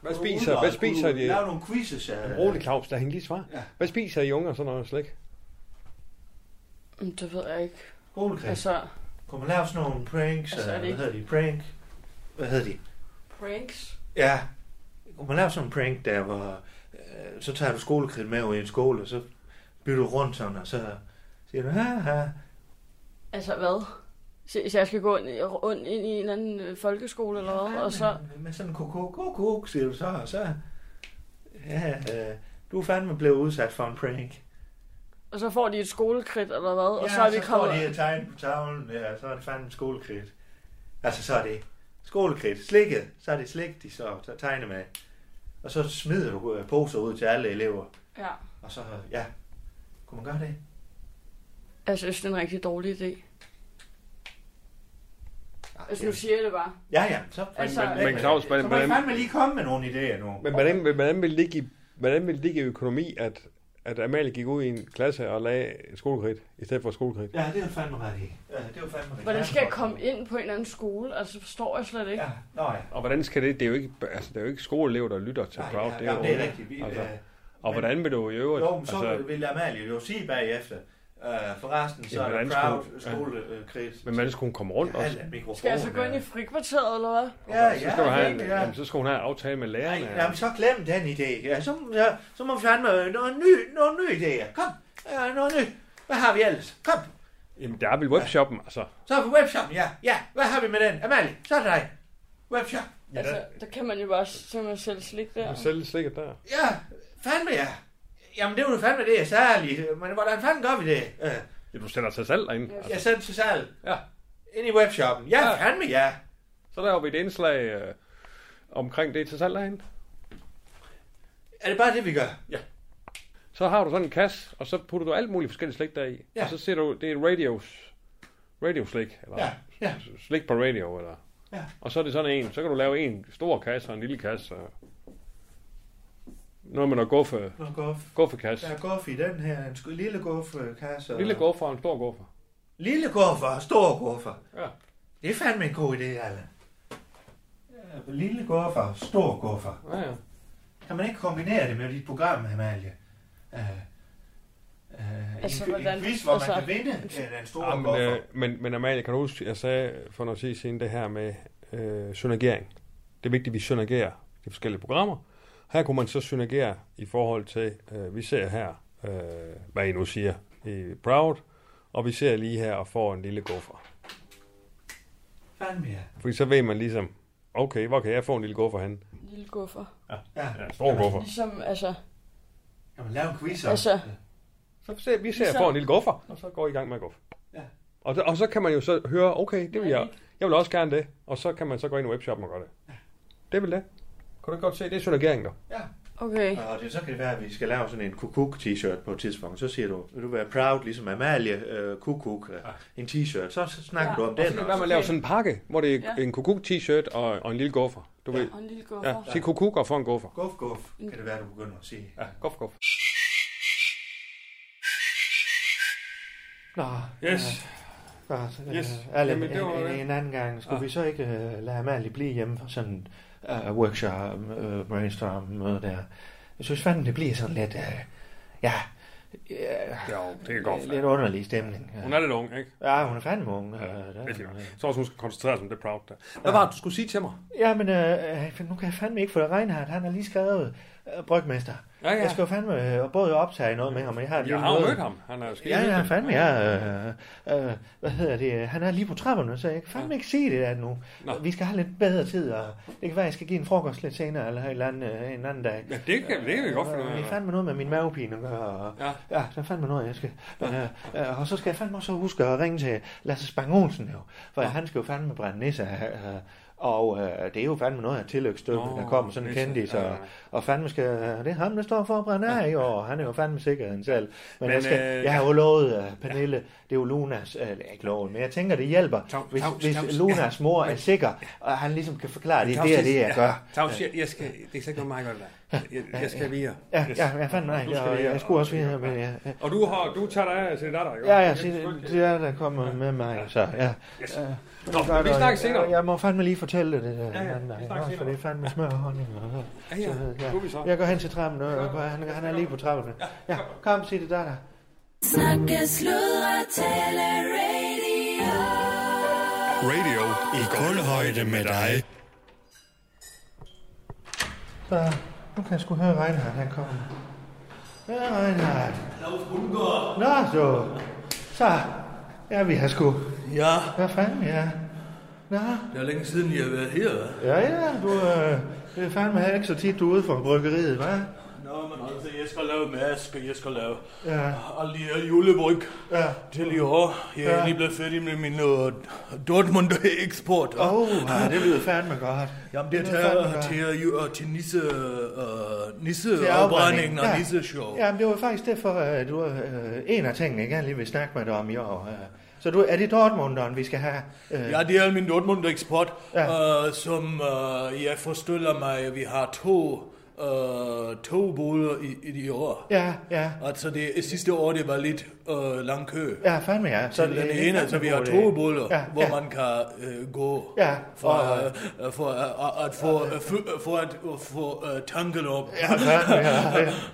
Hvad spiser, hvad spiser de?
Lav nogle quizzes. øh.
Rolig Claus, der er hende lige svar.
Ja.
Hvad spiser I unge og sådan noget slik?
Mm, Det ved jeg ikke.
Skolekreds.
Altså,
Kunne man lave sådan nogle pranks?
Altså, er
Altså,
det
hvad
ikke-
hedder de? Prank? Hvad hedder de?
pranks.
Ja. Kunne man lave sådan en prank der, hvor øh, så tager du skolekridt med over i en skole, og så bytter du rundt sådan, og så siger du, ha, ha.
Altså, hvad? Så, så jeg skal gå ind, rundt ind i en eller anden øh, folkeskole eller hvad? Og så...
Med sådan en kuk, kuk, kuk, siger du så, og så... Ja, øh, du er fandme blevet udsat for en prank.
Og så får de et skolekridt, eller hvad? Og så er vi
så står
kommet...
de og tegner på tavlen, ja, så er det fandme skolekridt. Altså, så er det skolekridt. Slikket, så er det slik, de så så tegner med. Og så smider du øh, poser ud til alle elever.
Ja.
Og så, ja, kunne man gøre det?
Altså, jeg synes, det er en rigtig dårlig idé.
Ej,
Altså,
ja.
nu siger jeg det bare.
Ja, ja, så...
Altså- Men-
men Claus, hvordan-
så må I
hvordan-
fandme lige komme med nogle idéer nu.
Men hvordan, hvordan, vil det give, hvordan vil det give økonomi, at, at Amalie gik ud i en klasse og lagde et skolekridt, i stedet for et skolekridt?
Ja, det er jo fandme ret i. Ja, det er jo fandme ret
Hvordan skal jeg komme ind på en eller anden skole? Altså, forstår jeg slet ikke.
Ja, nå ja.
Og hvordan skal det, det er jo ikke, altså, det er jo ikke skoleelever, der lytter til
Nej,
Proud.
ja,
det er jo,
jamen, det er rigtigt. Vi,
altså,
altså,
og hvordan vil du i øvrigt?
jo, men så
altså,
altså, vil Amalie jo sige bagefter. Øh, forresten, så
Ja,
er
hvordan
der proud
skulle- ja.
skolekridt.
men man skulle hun komme rundt også.
mikrofon.
Skal jeg så gå ind i frikvarteret, eller hvad?
Ja, ja,
Så skal, du have en,
ja.
jamen, så skal hun have en aftale med
Nej,
lærerne.
jamen, så glem den idé. Ja, så, ja, så må vi fandme øh, nogle nye, nogle nye idéer. Kom, øh, noget nyt. Hvad har vi ellers? Kom,
Jamen, der er vel webshoppen, altså.
så er vi webshoppen. Ja, ja. Hvad har vi med den? Amalie, så er det dig. Webshop.
Altså, der kan man jo bare simpelthen selv slik der.
Ja. Selv sikkert der.
Ja, fandme ja. Jamen, det var jo fandme det, jeg sagde lige. Men hvordan fanden gør vi det? Øh,
Ja, du sætter sig selv derinde.
jeg
Altså.
sendte til salg.
Ja.
Ind i webshoppen. Ja,
Ja.
fandme ja.
Så laver vi et indslag. Øh, omkring det til salg derhen.
Er det bare det, vi gør?
Så har du sådan en kasse, og så putter du alt muligt forskelligt slik deri.
Ja.
Ja. Og så ser du, det er radios, radioslik, eller
Ja, ja.
slik på radio, eller...
Ja.
Og så er det sådan en, så kan du lave en stor kasse og en lille kasse. Og... Noget med noget guffe,
Nå, guff.
guffekasse.
Der er guff i den her. En sk- lille guffekasse. og-
Lille guffer og en stor guffer.
Lille guffer og stor guffer.
Ja.
Det er fandme en god idé, Allan. Ja, Lille guffer og stor guffer.
Ja, ja.
Kan man ikke kombinere det med dit program, Amalie? Uh, uh,
Altså,
altså, en, hvordan,
hvordan-
en quiz, hvor altså,
altså-
man kan vinde øh, den store
Ja, men,
guffer.
øh, men, men Amalie, kan du huske, jeg sagde for noget tid siden det her med øh, synergering. Det er vigtigt, at vi synergerer de forskellige programmer. Her kunne man så synergere i forhold til, øh, vi ser her, øh, hvad I nu siger i Proud, og vi ser lige her og får en lille guffer.
Fandme ja.
Fordi så ved man ligesom, okay, hvor kan jeg få en lille guffer hen?
En lille guffer.
ja.
Ja, stor guffer.
Ligesom, altså...
Kan man lave en quiz om?
Altså,
Så ser, vi ser, at jeg får en lille guffer, og så går I i gang med at guffe.
Ja.
Og, og så kan man jo så høre, okay, det vil jeg, jeg vil også gerne det. Og så kan man så gå ind i webshoppen og gøre det. Det vil det. Kan du godt se, det er synergering der.
okay.
Og det, så kan det være, at vi skal lave sådan en kukuk t-shirt på et tidspunkt. Så siger du, vil du være proud, ligesom Amalie, øh, kukuk, øh, en t-shirt. Så så snakker
Ja.
du om
Og så
den
kan det være,
også.
man laver sådan en pakke, hvor det er
Ja.
en kukuk-t-shirt og, og en lille guffer. Du ved,
Og en lille
ja,
guffer.
sig kukuk og få en guffer.
Guf, guf, kan det være, du begynder at sige.
Ja, guf, guf.
Nå,
Yes.
Nå, så, øh,
Yes.
Allan,
Jamen, det var
en,
det.
en anden gang, skulle
Ah.
vi så ikke øh, lade Amalie blive hjemme for sådan en øh, workshop, øh, brainstorm møde der? Jeg synes fandme, det bliver sådan lidt, øh, ja, øh,
Jo, det kan godt
lidt
være.
underlig stemning.
Hun
Ja,
er lidt ung, ikke?
ja hun er fandme ung. Øh, der,
Lidt i gang. Så også, hun skal koncentrere sig om det proud der. Hvad var det, du skulle sige til mig?
Ja, men øh, øh, nu kan jeg fandme ikke få det Reinhardt. Han har lige skrevet øh, brygmester.
Ja, ja.
Jeg skal jo fandme øh, både optage noget med ham, og jeg har et
Jeg
lille
har jo
møde.
mødt ham. Han er jo skide
Ja, ja,
hyggelig.
fandme, ja. Øh, øh, hvad hedder det? Han er lige på trapperne, så jeg kan fandme ikke sige det der nu.
Nå.
Vi skal have lidt bedre tid, og det kan være, jeg skal give en frokost lidt senere, eller et eller andet, øh, en anden dag.
Ja, det kan, det kan vi godt finde ud
Øh, Det er
af.
fandme noget med min mavepine at gøre, og
Ja.
ja, det er fandme noget, jeg skal. Øh, øh, og så skal jeg fandme også huske at ringe til Lasse Spang Olsen, jo, for han skal jo fandme brænde nisse af, øh, og øh, det er jo fandme noget af tillægsstykke,
Nå,
der kommer sådan en
nisse,
kendis,
ja,
og,
ja.
og fandme skal, det er ham, der står for at brænde af, jo, og han er jo fandme sikker han selv. Men,
Men,
jeg, skal,
øh,
jeg har jo lovet, øh, Pernille, det er jo Lunas, øh, ikke lovet, men jeg tænker, det hjælper,
Tavs,
hvis,
tavs,
hvis
tavs.
Lunas mor er sikker, og han ligesom kan forklare, det er det, og det, jeg gør.
Claus, jeg, jeg skal, det er ikke noget meget godt der. Jeg, jeg skal videre.
Ja, ja, jeg fandt nej,
Du skal
jeg,
videre.
jeg skulle også videre, men ja, ja.
Og du, har, du tager dig af til datter, jo?
Ja, ja, se, det er der kommer med mig, så ja.
Yes.
Ja.
Nå,
Godt,
men vi
og
snakkes senere.
Jeg, jeg må fandme lige fortælle det der.
ja,
anden dag,
vi snakkes
også, For
senere.
det er fandme smør og honning. Og, så,
Ja, ja,
så,
nu er vi så.
Jeg går hen til trappen, og, og han, han er lige på trappen. Ja, kom, sig det der, der.
Snakke, sludre, tale, radio.
Radio i guldhøjde med dig.
Så, nu kan jeg sgu høre Reinhardt, han kommer. Ja, Reinhardt. Nå, så. Så, ja, vi har sgu.
Ja,
Hvad fanden, ja. Nå,
det er længe siden, jeg har været her. hva'?
ja, ja, du, øh, det er fandme heller ikke så tit, du er ude for bryggeriet, hva'?
Nå, men altså, jeg skal lave maske, jeg skal lave
Ja,
alle de her julebryg
ja.
til i år. Jeg er
Ja.
lige blevet færdig med min uh, Dortmund-eksport.
Åh, oh, det lyder fandme godt.
Jamen, det er
lyder fandme
til,
godt.
til, uh, til nisse, uh,
Til
nisseafbrændingen og
afbrændingen, ja.
nisseshow.
Jamen, det var faktisk derfor, at du øh, en af tingene, jeg gerne lige vil snakke med dig om i år. Øh. Så du, er det Dortmunderen, vi skal have? Øh,
Ja, det er min Dortmund-eksport,
Ja.
ja. øh, som øh, jeg forestiller mig, at vi har to, øh, to boder i, i de år.
ja, ja.
Altså, det, sidste år, det var lidt øh, lang kø.
Ja, fandme ja.
Så den
det er
ene,
fandme
altså vi
en
har
god
to
idé.
boller,
ja,
ja, hvor
ja.
ja. man kan øh, gå
Ja,
for,
og-
øh, øh, for, øh, at få øh, fø- for at øh, få øh, tanken op.
Ja, fandme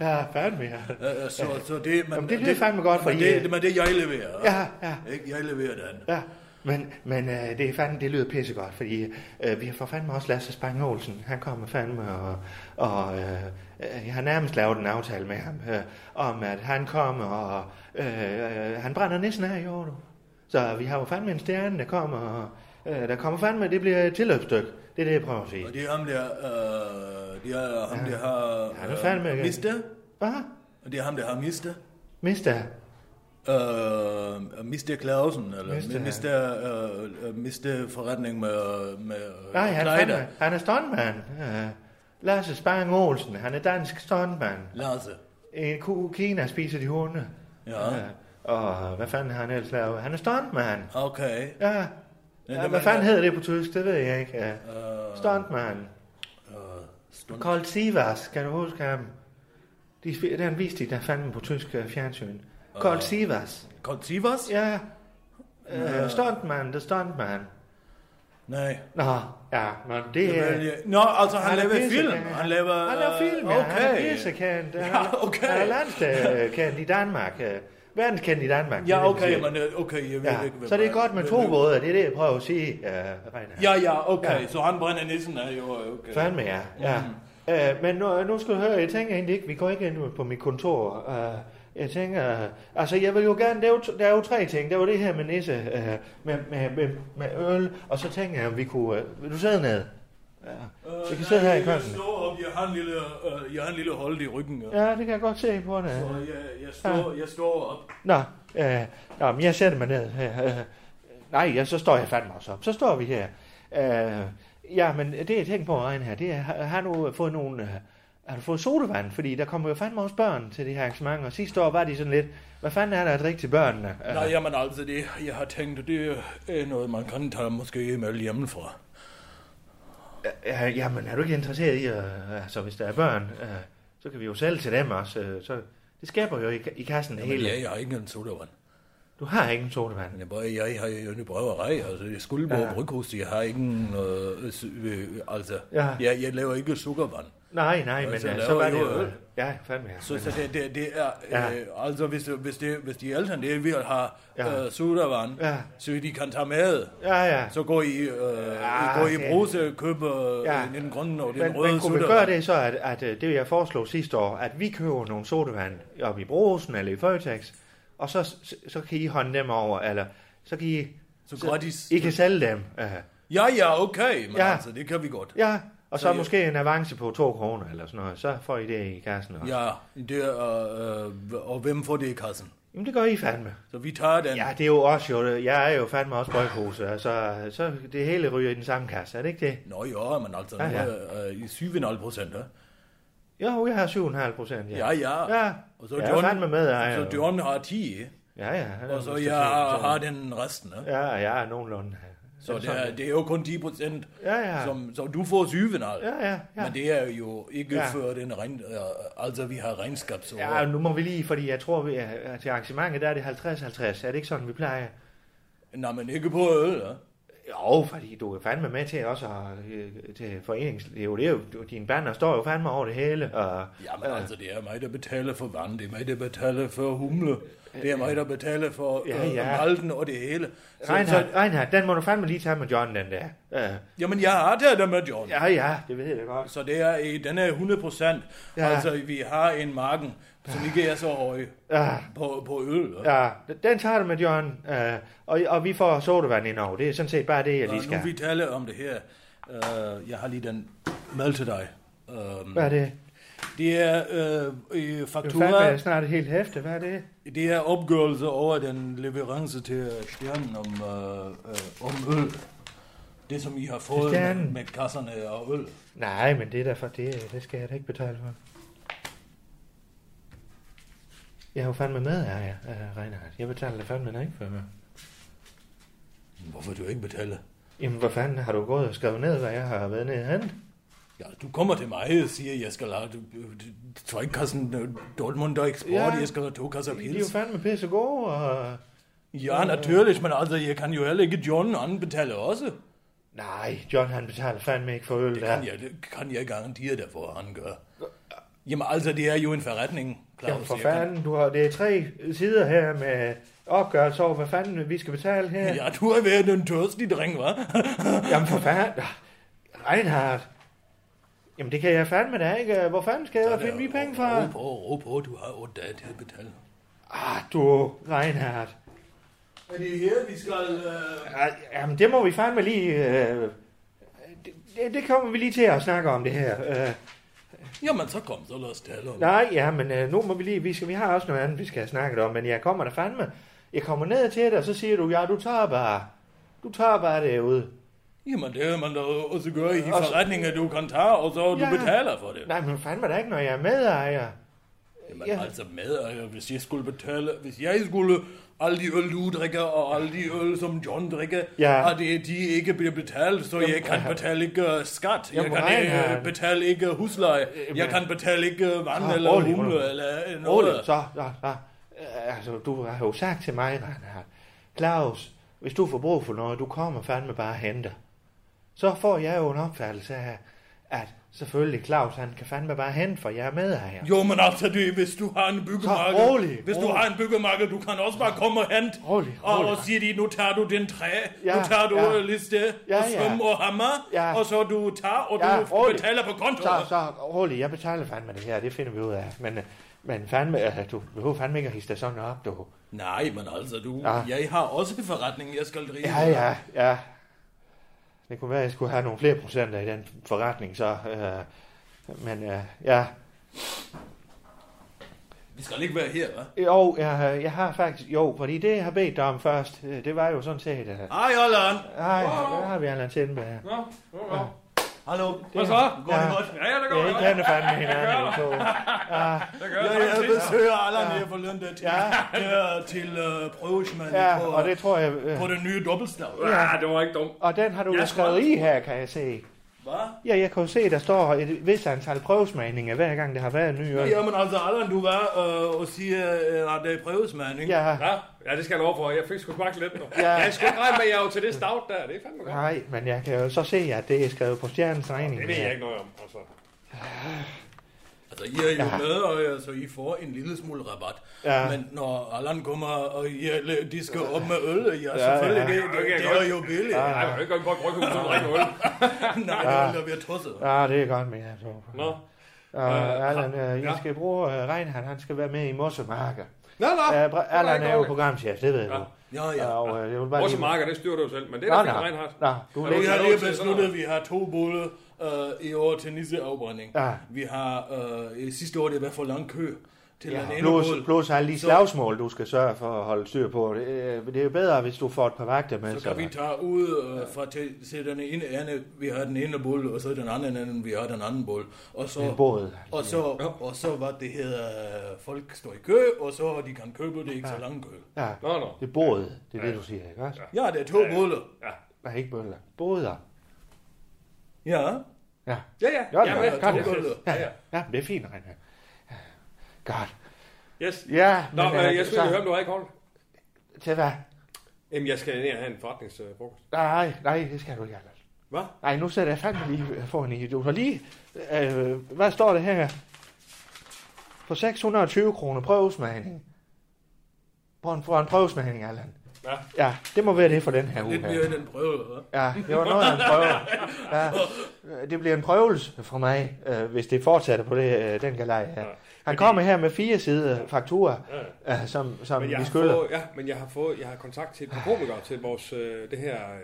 ja. Ja, fandme ja.
Øh, øh, så, så det, man,
Jamen, det lyder fandme godt,
men
fordi,
det,
øh,
det, men det jeg leverer.
Ja, ja.
Ikke? Jeg leverer den.
Ja, men, men øh, det, er fandme, det lyder pissegodt, fordi øh, vi har for fandme også Lasse Spang Olsen. Han kommer fandme, og, og øh, øh, jeg har nærmest lavet en aftale med ham, øh, om at han kommer, og øh, øh, han brænder næsten af i år nu. Så vi har jo fandme en stjerne, der kommer, og øh, der kommer fandme, det bliver et tilløbsstykke. Det er det, jeg prøver at sige.
Og det er ham der, øh, det er ham der
Ja, det er
har
fandme
øh,
ikke-
mistet.
Hvad?
Og det er ham der har mistet.
Mister?
Uh, Mr. Clausen, eller
Mr.
Mr. Mr. Uh, Mr. forretning med, med øh,
Nej, han, han,
Kleider.
er- han er stuntman. Ja. Lasse Spang Olsen, han er dansk stuntman.
Lasse.
I Ku- Kina spiser de hunde.
Ja.
Ja. Og hvad fanden har han ellers lavet? Han er stuntman.
Okay.
Ja. ja
det
hvad
var-
fanden hedder det på tysk? Det ved jeg ikke. Ja. Stuntman.
Stunt.
Carl Sivas, kan du huske ham? De, sp- den viste de der fandme på tysk øh, fjernsyn. Carl Sivas.
Kort Sivas?
Ja. Uh, stuntman, det er stuntman.
Nej.
Nå, ja, men det
Yeah.
er...
Men, Nå, altså han, laver
pissekendt.
film. Han laver...
han laver film, ja.
okay.
Han er pissekendt. Han,
Ja, okay.
han er landskendt i Danmark. øh, Verdenskendt i Danmark.
Ja,
det er det,
okay,
vi
men øh, okay, jeg ved
siger.
ikke,
Ja.
hvem
Så det er
han-
godt med
hvem-
to både, det er det, jeg prøver at sige, uh, Rene.
Ja, ja, okay,
Ja.
ja. så han brænder nissen af, jo, okay.
Fandme ja, ja.
Mm.
Øh, men nu, nu skal du høre, jeg tænker egentlig ikke, vi går ikke ind på mit kontor. Øh, jeg tænker, øh, altså jeg vil jo gerne, der er jo, t- der er jo tre ting. Der var det her med nisse, øh, med, med, med, med øl, og så tænker jeg, om vi kunne, øh, vil du sidde ned? Ja. vi kan sidde her i
Øh, Jeg
køkkenet.
står op, jeg har en lille, øh, jeg har en lille hold i ryggen, ja.
Ja, det kan jeg godt se på dig.
Og jeg, jeg, står, jeg står op.
Nå, øh, nå, men jeg sætter mig ned. Øh, øh, nej, ja, så står jeg fandme også op. Så står vi her. Øh, ja, men det jeg tænkte på, Ejne, her, det er, har, har du fået nogle... Øh, har du fået sodavand? Fordi der kommer jo fandme også børn til det her arrangement, og sidste år var de sådan lidt, hvad fanden er der at drikke til børnene? Øh,
Nej, jamen altså, det, jeg har tænkt, det er noget, man kan tage måske med hjemmefra.
øh, jamen, er du ikke interesseret i, øh, altså hvis der er børn, øh, så kan vi jo sælge til dem også. Øh, så det skaber jo i, i kassen det
Men
hele.
jeg, jeg har ikke en sodavand.
Du har ikke en sodavand.
Men jeg, bare, jeg har jo en brødderej, altså jeg skulle bruge
Ja.
ja. bryghus, jeg har ikke en, øh, sy- øh, altså,
Ja.
ja. jeg, jeg laver ikke sukkervand.
Nej, nej, men øh,
så
så
laver
var
I
det
jo
jo...
øl.
Ja, fandme ja.
Så, så det, det, det er,
Ja.
ja. øh, altså hvis, hvis, det, hvis de ældre, det vil have
Ja.
ja. øh, sodavand,
Ja.
ja. så de kan tage med,
Ja, ja.
så går I, øh,
Ah,
ja, går I
det-
bruse, køber
Ja.
ja. den grønne og den
Men,
røde
men kunne vi
sodavand.
gøre det så, at, at øh, det jeg foreslog sidste år, at vi køber nogle sodavand op i Brosen eller i Føtex, og så, så, så kan I hånde dem over, eller så kan I,
Så gratis.
I kan sælge dem. Uh,
Ja, ja, okay, men
Ja.
ja. altså, det kan vi godt.
ja, og så,
Så jeg-
måske en avance på to kroner eller sådan noget, så får I det i kassen også.
Ja, det er, øh, og hvem får det i kassen?
Jamen det gør I fandme.
Så vi tager den.
Ja, det er jo også jo, jeg er jo fandme også brødpose, altså, så det hele ryger i den samme kasse, er det ikke det?
Nå jo, men altså, nu
Ja, ja.
er øh, i 7,5 procent, ja?
Jo, jeg har 7,5 procent, ja.
Ja, ja.
Ja,
Og så
jeg
John,
er fandme med, jeg,
så John har 10, ikke?
Ja, ja. han er
og så
vist
jeg
til-
har den resten, ja?
Ja, jeg er nogenlunde.
Så det er, det er jo kun 10 procent,
Ja, ja.
som, som du får 7,5.
Ja, ja, ja.
Men det er jo ikke
Ja.
ja. før den regn, øh, altså vi har regnskabsår.
Ja, nu må vi lige, fordi jeg tror, vi er, at til arrangementet, der er det 50-50. Er det ikke sådan, vi plejer?
Nå, men ikke på øl, ja?
Jo, fordi du er fandme med til også at, øh, til foreningslivet. Det er jo, du- dine bander står jo fandme over det hele. Og,
Jamen altså, det er mig, der betaler for vand, det er mig, der betaler for humle, det er mig, der betaler for
Ja,
øh,
ja.
malten og det hele. Så,
Reinhard,
så,
Reinhard, den må du fandme lige tage med John, den der. Øh,
jamen, jeg har taget det med John.
ja, ja, det ved jeg da godt.
Så det er, i- den er 100 procent.
Ja.
Ja. Altså, vi har en marken, som ikke er så høj
Ja.
på, på øl. Ja.
Ja, den tager du med John, øh, og, og vi får sodavand ind over. Det er sådan set bare det, jeg lige
Og nu vi
skal.
taler om det her, uh, jeg har lige den mail til dig. Um,
Hvad er det?
det er øh, øh,
Du fandme
faktura,
er snart et helt hæfte. Hvad er det?
det er opgørelse over oh, den leverance til stjernen om, øh, øh, om øl. Det, som I har fået med,
Stjernen.
med kasserne af øl.
Nej, men det er derfor, det, det skal jeg da ikke betale for. Jeg har jo fandme med her, ja, uh, Reinhardt. Jeg betaler da fandme da ikke for mig.
Hvorfor du ikke betaler?
Jamen, hvor fanden har du gået og skrevet ned, hvad jeg har været nede hen?
Ja, du kommer til mig og siger, jeg skal have tre kassen äh, Dortmund og eksport,
Ja.
ja. jeg skal have to kasser
De er jo
pils.
fandme pisse gode, og...
Ja, naturligt, men altså, jeg kan jo heller ikke John anbetale også. Det
Nej, John han betaler fandme ikke for øl, det
kan altså jeg, det kan jeg garantere dig for, at han gør. Jamen altså, det er jo en forretning, Claus.
Jamen, for
Jeg kan-
fanden, du har, det er tre sider her med opgørelse over, hvad fanden vi skal betale her.
Ja, du har været en tørstig dreng, hva'?
Jamen, for fanden. Ah, Reinhardt. Jamen, det kan jeg fandme da ikke. Hvor fanden skal jeg finde mine penge fra?
Ro på, ro på, du har otte dage til at betale.
Ah, du, Reinhardt.
Er det her, vi skal... Øh...
Ah, Jamen, det må vi fandme lige... Øh, det, det, det kommer vi lige til at snakke om, det her. Øh,
Jamen, så kom, så lad os tale om det.
Nej, ja, men øh, nu må vi lige, vi, skal, vi har også noget andet, vi skal have snakket om, men jeg kommer der fandme. Jeg kommer ned til dig, og så siger du, ja, du tager bare, du tager bare derude.
Jamen, det har man da også gør i de
Også-
forretninger, du kan tage, og så du
Ja.
betaler for det.
Nej, men fandme da ikke, når jeg er medejer.
Jamen,
Ja.
ja. altså medejer, hvis jeg skulle betale, hvis jeg skulle alle de øl, du drikker, og alle de øl, som John drikker,
Ja.
og det, de ikke bliver betalt, så jeg kan betale ikke øh, skat, jeg
Jamen,
kan ikke
Reinhard.
øh, betale ikke husleje, jeg kan betale ikke øh, vand
Ah,
eller
rolig,
humle
rolig.
eller
Ole,
noget.
så, så, så. Øh, Altså, du har jo sagt til mig, Reinhard, Claus, hvis du får brug for noget, du kommer fandme bare og henter. Så får jeg jo en opfattelse af, at selvfølgelig Claus, han kan fandme bare hente, for jeg er medejer.
Jo, men altså, det, hvis du har en byggemarked,
rolig,
hvis du
rolig.
har en byggemarked, du kan også bare komme og hente,
Rolig,
og,
rolig.
og sige de, nu tager du den træ,
Ja,
nu tager du
ja.
øh, liste,
Ja,
og
ja.
svøm og hammer,
Ja.
og så du tager, og
Ja,
du
rolig.
betaler på kontoen.
Så, så rolig, jeg betaler fandme det her, det finder vi ud af. Men, øh, men fandme, altså, du behøver fandme ikke at hisse dig sådan op, du.
Nej, men altså, du,
Ja.
ja. jeg har også en forretning, jeg skal drive.
Ja, ja, ja. Det kunne være, at jeg skulle have nogle flere procenter i den forretning, så... Øh, men øh, ja,
Vi skal ikke være her, hva'?
jo, jeg, jeg har faktisk... Jo, fordi det, jeg har bedt dig om først, øh, det var jo sådan set... Øh,
Hej, Allan!
ej, der har vi Allan Sindberg.
Nå, nå, nå.
Hallo,
Hvad så?
Går det
Ja.
godt? Ja, ja, det
Ja, I
godt.
kender fandme hinanden, I to.
Det gør
Ja,
jeg.
jeg besøger Allan
Ja.
her forleden der til,
Ja.
der til uh, prøvesmanden
Ja,
på,
og det tror jeg... Øh,
på den nye dobbeltstav.
Ja, det var ikke dumt.
og den har du
Jeg
jo
tror-
skrevet i her, kan jeg se.
Hva?
Ja, jeg kan jo se, der står et vist antal prøvesmagninger, hver gang der har været en ny øl.
Jamen altså, Allan, du var øh, og siger, øh, at det er prøvesmand, ikke?
Ja,
Ja, ja, det skal jeg lov for. Jeg fik sgu smagt lidt nu.
Ja.
Ja. Jeg skulle ikke regne med, at jeg er jo til det stout der. Det er fandme godt.
nej, men jeg kan jo så se, at det er skrevet på stjernens regning.
Det ved jeg ikke noget om. Altså.
Altså, I er jo med, og øh, så I får en lille smule rabat.
Ja.
Men når Allan kommer, og I, er- de skal op med øl, ja,
Ja,
selvfølgelig,
ja.
Det, det,
Okay,
det
godt.
er jo billigt.
Nej, jeg kan jo ikke gå ind på et bryghus og drikke øl.
Nej, det ville da være tosset.
Ja, det er godt med, jeg tror.
Nå.
Og Allan, øh, jeg
ja.
skal bruge uh, Reinhardt, han skal være med i Mossemarker.
Nå,
Ah,
nå.
Uh, Allan er jo
dårligt.
programchef, det ved du.
Ja, ja.
Og uh, jeg vil bare
Vores
lige...
marker, det styrer du jo selv, men det er da
Nå,
fint,
nå,
Reinhardt.
nå, du
Ja,
Vi
lægger...
har lige besluttet, at vi har to bolle øh, i år til nisseafbrænding.
Ja.
Vi har øh, i sidste år, det var for lang kø til den
Ja,
ene
plus,
bolle.
plus alle de
Så-
slagsmål, du skal sørge for at holde styr på. Det, øh, det er jo bedre, hvis du får et par vagter med.
Så kan vi tage ud øh, fra til, til den ene ende, vi har den ene bolle, og så den anden ende, vi har den anden bolle. Og så,
En båd.
og så, og så hvad det hedder, øh, folk står i kø, og så de kan købe det ikke så lang kø.
Ja,
Nå, nå.
det er båd, det er det, du siger, ikke også?
Ja, det er to boller.
Nej, ikke bøller. Båder.
Ja,
Ja,
Ja, ja.
Godt,
ja,
godt,
ja,
godt.
ja,
to boller.
ja, ja.
ja det er fint, Reinhardt. Godt.
Yes.
Ja,
Nå, men
øh,
jeg skulle
så-
lige høre, om du har ikke holdt.
Til hvad?
Jamen, jeg skal ned og have en øh, forretningsfrokost.
Nej, nej, det skal du ikke, Allan.
Hvad?
Nej, nu sætter jeg fandme lige foran i. Du har lige... Øh, hvad står det her? På 620 kroner prøvesmagning. For en, for en prøvesmagning, Allan.
Ja.
Ja, det må være det for den her uge.
Lidt mere
Her.
end en prøve, hva'?
Ja, det var noget af en prøve. Ja, øh, det bliver en prøvelse for mig, øh, hvis det fortsætter på det, øh, den galej her. Han kommer her med fire sider fakturer, øh, som, som
Men jeg,
vi
har
skylder.
fået, ja, men jeg har fået, jeg har kontakt til et par komikere til vores, øh, det her øh,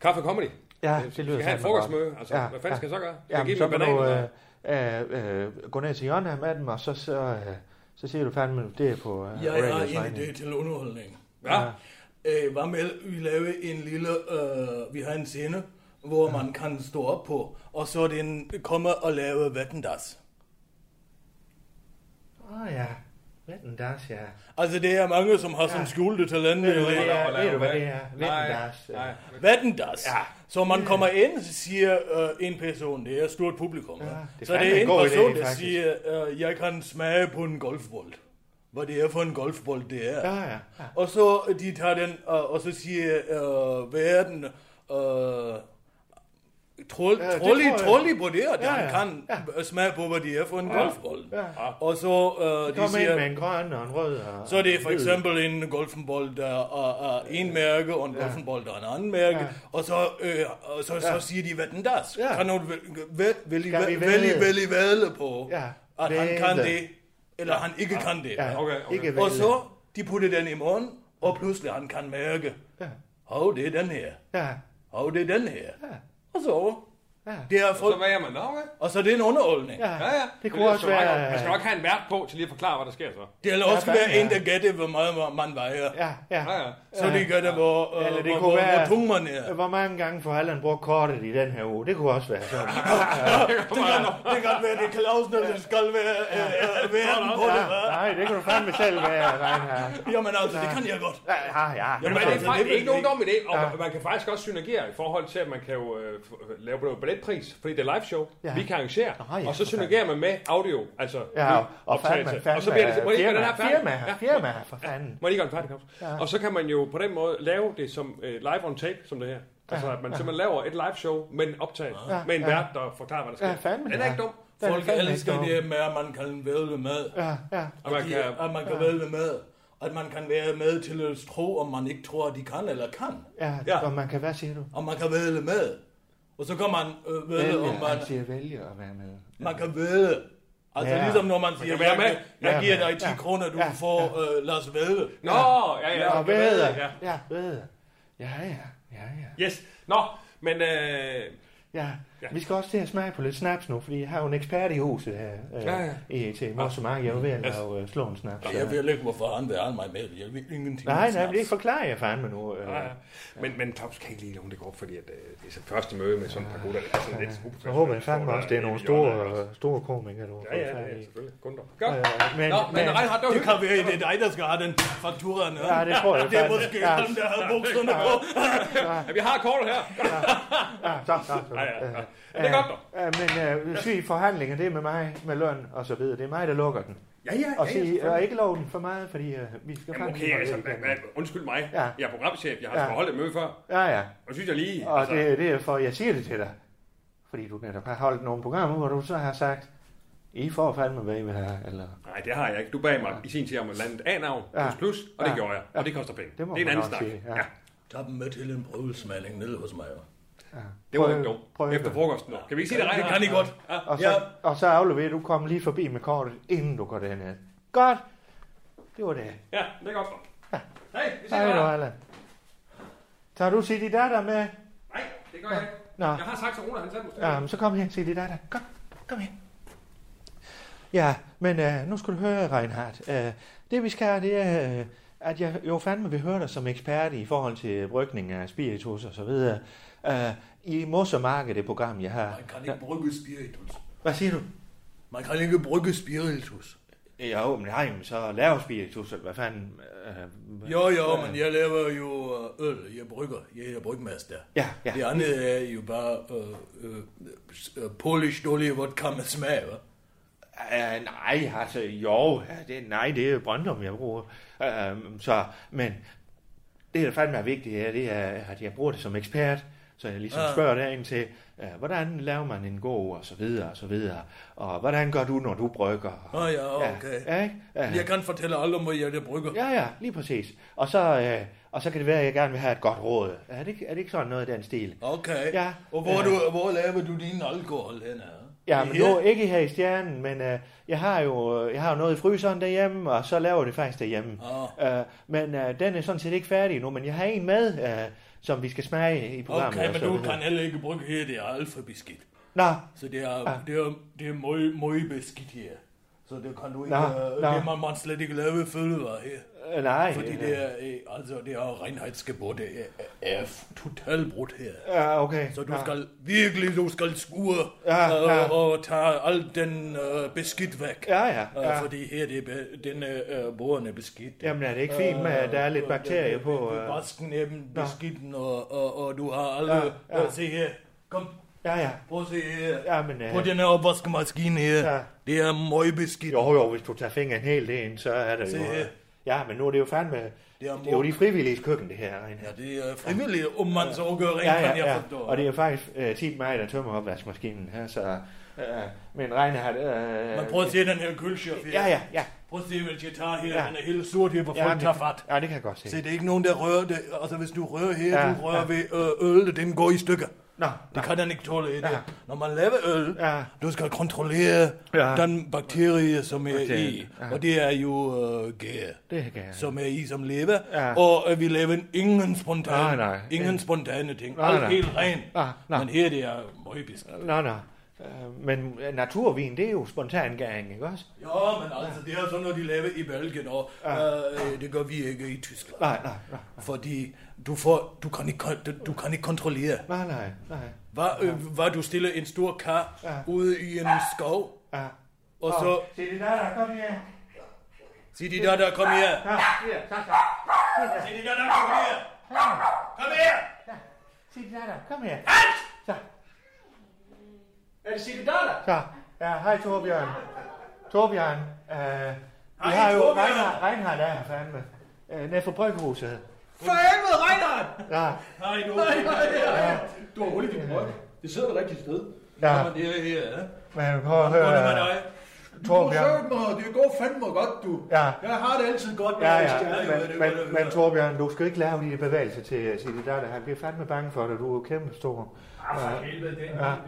Kaffe Comedy.
Ja,
Øh,
det
vi
lyder
skal have
fandme
et frokostmøde. Altså,
Ja,
hvad fanden
ja.
skal jeg så gøre? Skal
Ja,
jeg give
men
dem
så
en
kan
banan?
du øh,
eller-
øh, øh, gå ned til hjørnet her med dem, og så, så, øh, så siger du fandme, det er på øh,
Jeg har
Radios
en
regning.
idé til underholdning.
Ja,
Øh, hvad med, at vi laver en lille, øh, vi har en scene, hvor man kan stå op på, og så den kommer og lave vattendas.
Åh oh, ja, Vetten Das, ja.
Altså, det er mange, som har sådan skjulte talenter.
Ved du, hvad det
Ja.
er? Ved du, hvad det er?
nej,
Vetten Das.
nej.
Vattendas. Ja. Så man kommer ind, siger øh, en person, det er et stort publikum. Ja,
det
så
er
det er
en
en
god idé,
person, der
faktisk.
siger, øh, jeg kan smage på en golfbold. Hvad det er for en golfbold, det er.
Ja, ja. ja.
Og så øh, de tager den, og, og så siger øh, verden, øh, Troll,
Ja, det
trolli,
tror jeg.
trolli på det, og
Ja,
ja,
ja.
ja. kan ja. smage på, hvad de er for en ja. golfbold.
Ja.
Og så øh, de
Kom ind med
siger,
en grøn og en rød. Og,
så er det for eksempel en golfbold, der er, er en mærke, og en ja. golfbold, der er en anden mærke,
Ja.
ja. og så, øh, og så, ja. så siger de, hvad den der
Ja.
ja. kan nogen vælge, vælge,
Skal vi
vælge,
vælge?
vælge, vælge, vælge på,
Ja.
at han
Vælge.
kan det, eller han ikke kan det.
Ja,
Okay, okay.
Ikke
Og
vælge.
så, de putter den i munden, og pludselig han kan mærke,
Ja.
hov, det er den her,
Ja,
hov, det er den her. Og så,
Ja.
Det er
Så
frygt,
hvad er man nok, ikke?
og så er det en underholdning.
Ja,
Ja, ja.
Det kunne også
lyder så meget godt.
være...
Man skal nok have en vært på til lige at forklare, hvad der sker så.
Det er også
Ja,
være
ja.
en, der gætter, hvor meget man vejer.
Ja, ja.
Ja, ja.
Så de gætter, hvor, øh,
Eller det
hvor,
kunne
hvor, hvor
være-
tung man er.
Hvor mange gange får Allan brugt kortet i den her uge? Det kunne også være sådan.
Det kan, det kan være, det er Clausen, der skal være øh, øh, verden på det,
Ja,
hva'?
nej, det kan du fandme selv være, Reinhardt.
Jamen altså, det kan jeg godt.
Ja, ja, ja.
Men det er
Altså,
faktisk
det
ikke
ved
nogen
jeg
dum idé, og man kan faktisk også synergere i forhold til, at man kan jo øh, f- lave noget billetpris, fordi det er live show,
Ja.
vi kan arrangere,
Nå, ja,
og så
for fanden.
synergerer man med audio, altså
Ja,
lyd,
og fandme,
optagelse.
fandme,
og så bliver det, må jeg lige gøre den
øh, firma,
her færdig?
firma,
Ja.
firma, for fanden.
Må jeg lige gøre den færdig, Claus? Og så kan man jo på den måde lave det som øh, live on tape, som det her. Altså, at man simpelthen laver et live show, men optaget med en vært, der forklarer, hvad der sker.
Ja, fandme,
Den er ikke
ja.
dum.
Den er
Folk
fandme
elsker
ikke
det med, at man kan vælge med.
Ja, ja.
Og man
Ja,
kan,
at man kan vælge med. At man kan være med til at tro, om man ikke tror, at de kan eller kan.
Ja,
Ja.
og man kan, hvad siger du?
Og man kan vælge med. Og så kan man øh, vælge, om
Vælge,
man,
han siger vælge at være med.
man kan vælge. Altså
altså. Ja.
ligesom når man siger,
være
jeg,
med.
jeg, jeg
Ja,
giver
ja.
dig 10
Ja.
kroner, du
Ja.
får, øh, lad os vælge.
Nå, ja, ja.
Ja,
man kan
bedre.
vælge, ja.
Ja, bedre. Ja, ja, ja, ja.
Yes. Nå, men... Øh,
Ja, vi skal også til at smage på lidt snaps nu, fordi jeg har jo en ekspert i huset her øh,
Ja, ja.
i ET. Morse Mark, jeg er jo ved at lave øh, slå en snaps.
Ja, Jeg ved ikke, hvorfor han vil have mig med. Jeg ved ingenting.
Nej,
om
nej, men det
snaps.
forklarer jeg fandme nu. Øh.
Ja, ja. Men, men Claus kan ikke lide, om det går op, fordi at, øh, det er så første møde med sådan et par gutter. Det er sådan lidt super.
Så håber jeg fandme også, det er nogle store, øh, store komikere, du har
Ja,
fået
ja,
fat
ja,
i.
selvfølgelig. Kunder. Godt.
Øh, men,
Nå, men Reinhardt, det var
Det
hyggeligt.
kan være, det er dig, der skal have den faktura. Ja,
Ja, det tror jeg
det er
fandme.
måske
Ja.
ham, der har bukserne på.
Ja, vi har kortet her.
Ja, så, så, så.
Ja, ja, ja.
Øh,
Det er godt, dog.
øh, men øh, syg forhandlinger, det er med mig, med løn og så videre. Det er mig, der lukker den.
Ja, ja,
Og
ja,
sige,
ja.
og ikke lov den for meget, fordi øh, vi skal
Jamen,
fandme
okay,
holde
altså,
igen.
hvad- hvad- undskyld mig.
Ja.
Jeg er programchef. Jeg har
Ja.
altså holdt et møde før.
Ja, ja.
Og synes jeg lige...
Og
altså,
det, det er for, jeg siger det til dig. Fordi du netop har holdt nogle programmer, hvor du så har sagt, I får fandme, hvad I vil have. Eller,
Nej, det har jeg ikke. Du bag mig i sin tid om et landet A-navn,
Ja.
plus plus, og det
Ja.
gjorde jeg. Og det koster penge.
det må
er en
man
anden
også
snak.
sige. Ja.
Ja,
Tag dem med til en prøvelsmaling nede hos mig.
det var
Prøv-
ikke dumt.
prøv-
Efter frokosten. Kan vi ikke sige det,
Det
Reinhardt?
kan I godt.
og, så,
Ja.
og så afleverer du komme lige forbi med kortet, inden du går derned. Godt. Det var det.
Ja, det er godt. dog. Hej, vi ses.
Hej du,
Reinhardt.
Allan. Tager du Sidi Dada med?
Nej, det gør jeg ikke.
Nå,
Jeg har sagt til Rune, han sagde måske.
ja, men så kom her, Sidi Dada. Kom, kom her. Ja, men øh, nu skal du høre, Reinhardt. Øh, det vi skal, det er, øh, at jeg jo fandme vil høre dig som ekspert i forhold til brygning af spiritus og så videre. Øh, I Mossemarked, det program, jeg har.
Man kan ikke brygge spiritus.
Hvad siger du?
Man kan ikke brygge spiritus.
Ja, men nej, men så lav spiritus, eller hvad fanden? Øh,
Jo, jo, men jeg laver jo øh, øl. Jeg brygger. Jeg er brygmester.
Ja, ja.
Det andet er jo bare øh, øh, øh, polish dårlig vodka med smag, hva'?
Uh, nej, altså jo, ja, det, nej, det er Brøndum, jeg bruger. Uh, så, men det, der fandme er vigtigt, er, det er, at jeg bruger det som ekspert, så jeg ligesom
Ja.
spørger derind til, uh, hvordan laver man en god, og så videre, og så videre, og hvordan gør du, når du brygger?
Åh, ja, Ah, okay.
Ja, ja, ikke? Uh,
Jeg kan fortælle alle om, hvor jeg der brygger.
ja, ja, lige præcis. Og så, uh, og så kan det være, at jeg gerne vil have et godt råd. Er det, ikke- er det ikke sådan noget i den stil?
Okay.
Ja.
Og hvor, du, hvor laver du din alkohol henne? hva'?
Ja, men
Her?
nu ikke her i stjernen, men øh, jeg har jo øh, jeg har jo noget i fryseren derhjemme, og så laver jeg det faktisk derhjemme.
Ah.
Øh, men øh, den er sådan set ikke færdig nu, men jeg har en med, øh, som vi skal smage i programmet.
Okay,
og
men
så
du
videre.
kan heller ikke bruge her, det er alt for beskidt.
Nå,
Så det er,
Ah.
det er, det er meget, meget beskidt her. Så det kan du ikke,
Nå,
øh,
nå.
det man, man slet ikke lave fødevarer her.
øh, nej.
Fordi
øh,
det er, øh, altså det er renhedsgebot, det er, er totalt brudt her.
Ja, okay.
Så du
Nå.
skal virkelig, du skal skure
Ja,
øh,
ja.
og tage al den øh, beskidt væk.
Ja, ja,
Øh,
ja.
Fordi her, det er, be- den er øh, bordene beskidt.
Jamen er det ikke fint, med, at der er lidt bakterier på?
Øh,
Øh,
vasken er beskidten, og, og, og du har alle... Ja,
Ja, ja.
ja. Se her. Kom,
ja, ja.
prøv at se her. Ja.
Ja, men, øh,
På den her opvaskemaskine her.
Ja.
Ja. Det er møgbeskidt.
Jo, jo, hvis du tager fingeren helt ind, så er det
Se
jo...
her.
øh, Ja, men nu er det jo fandme... Det er,
er
det er jo
mor-
de frivillige køkken, det her. Reinhardt.
Ja, det er frivilligt, om man så gør rent,
ja, ja,
kan jeg
ja.
forstå.
Og det er faktisk øh, tit mig, der tømmer opvaskemaskinen her, så... Øh, men Reinhardt... Øh,
Men prøv at se den her køleschef her.
Ja, ja, ja.
Prøv at se, hvad jeg tager her.
Ja.
Ja. Den er helt sort her, hvor
Ja,
folk
det-
tager fat.
Ja, det kan jeg godt se.
Se, det er ikke nogen, der rører det. Altså, hvis du rører her,
Ja,
ja, du rører
ja.
ja. ved øh, øl, den går i stykker.
Nå,
Det kan den ikke tåle i det.
Ja.
Når man laver øl,
Ja.
du skal kontrollere
Ja.
den bakterie, som er
Bakterien,
i.
ja.
Og det er jo uh, gær,
det kan jeg.
som er i som lever.
Ja.
Og øh, vi laver ingen
Nej,
spontane,
nej.
ingen spontane ting.
Nej,
Alt
nej.
helt rent.
Ah, nej.
Men her det er møgbis.
Nå, nå. Øh, Men øh, naturvin, det er jo spontan gæring, ikke også?
Ja, men altså, det er sådan noget, de laver i Belgien, og øh, det gør vi ikke i Tyskland.
Nej, nej, nej.
Fordi du, får, du, kan ikke, kon- du, du kan ikke kontrollere.
Nej, nej, nej.
Hvad, øh, hvad du stiller en stor kar
Ja. Ah.
ude i en skov,
Ja.
og så
Se det der, der kom her.
siger de der, der kom her.
Ja, her, tak, tak.
Siger de der, der kom her. Kom her!
Se det der, der kom her.
Er det siger de der, der?
Så, ja, hej Torbjørn. Torbjørn, øh, vi
Hej,
har jo
Torbjørn.
Reinhard, Reinhard er her fandme. Øh, nede for bryghuset.
For helvede, Reinhard!
Ja,
Nej, du har ikke. Du har hul i dit røg. Det sidder det rigtige sted.
ja, Øh,
Kommer det her, ja.
men prøv at
Hvordan med
høre,
dig?
Torbjørn.
mig, det går fandme godt, du.
Ja,
Jeg har det altid godt,
ja, ja. Men, men, men Torbjørn, du skal ikke lave dine bevægelser til Sidi Dada. Han bliver fandme bange for dig. Du er jo kæmpe stor.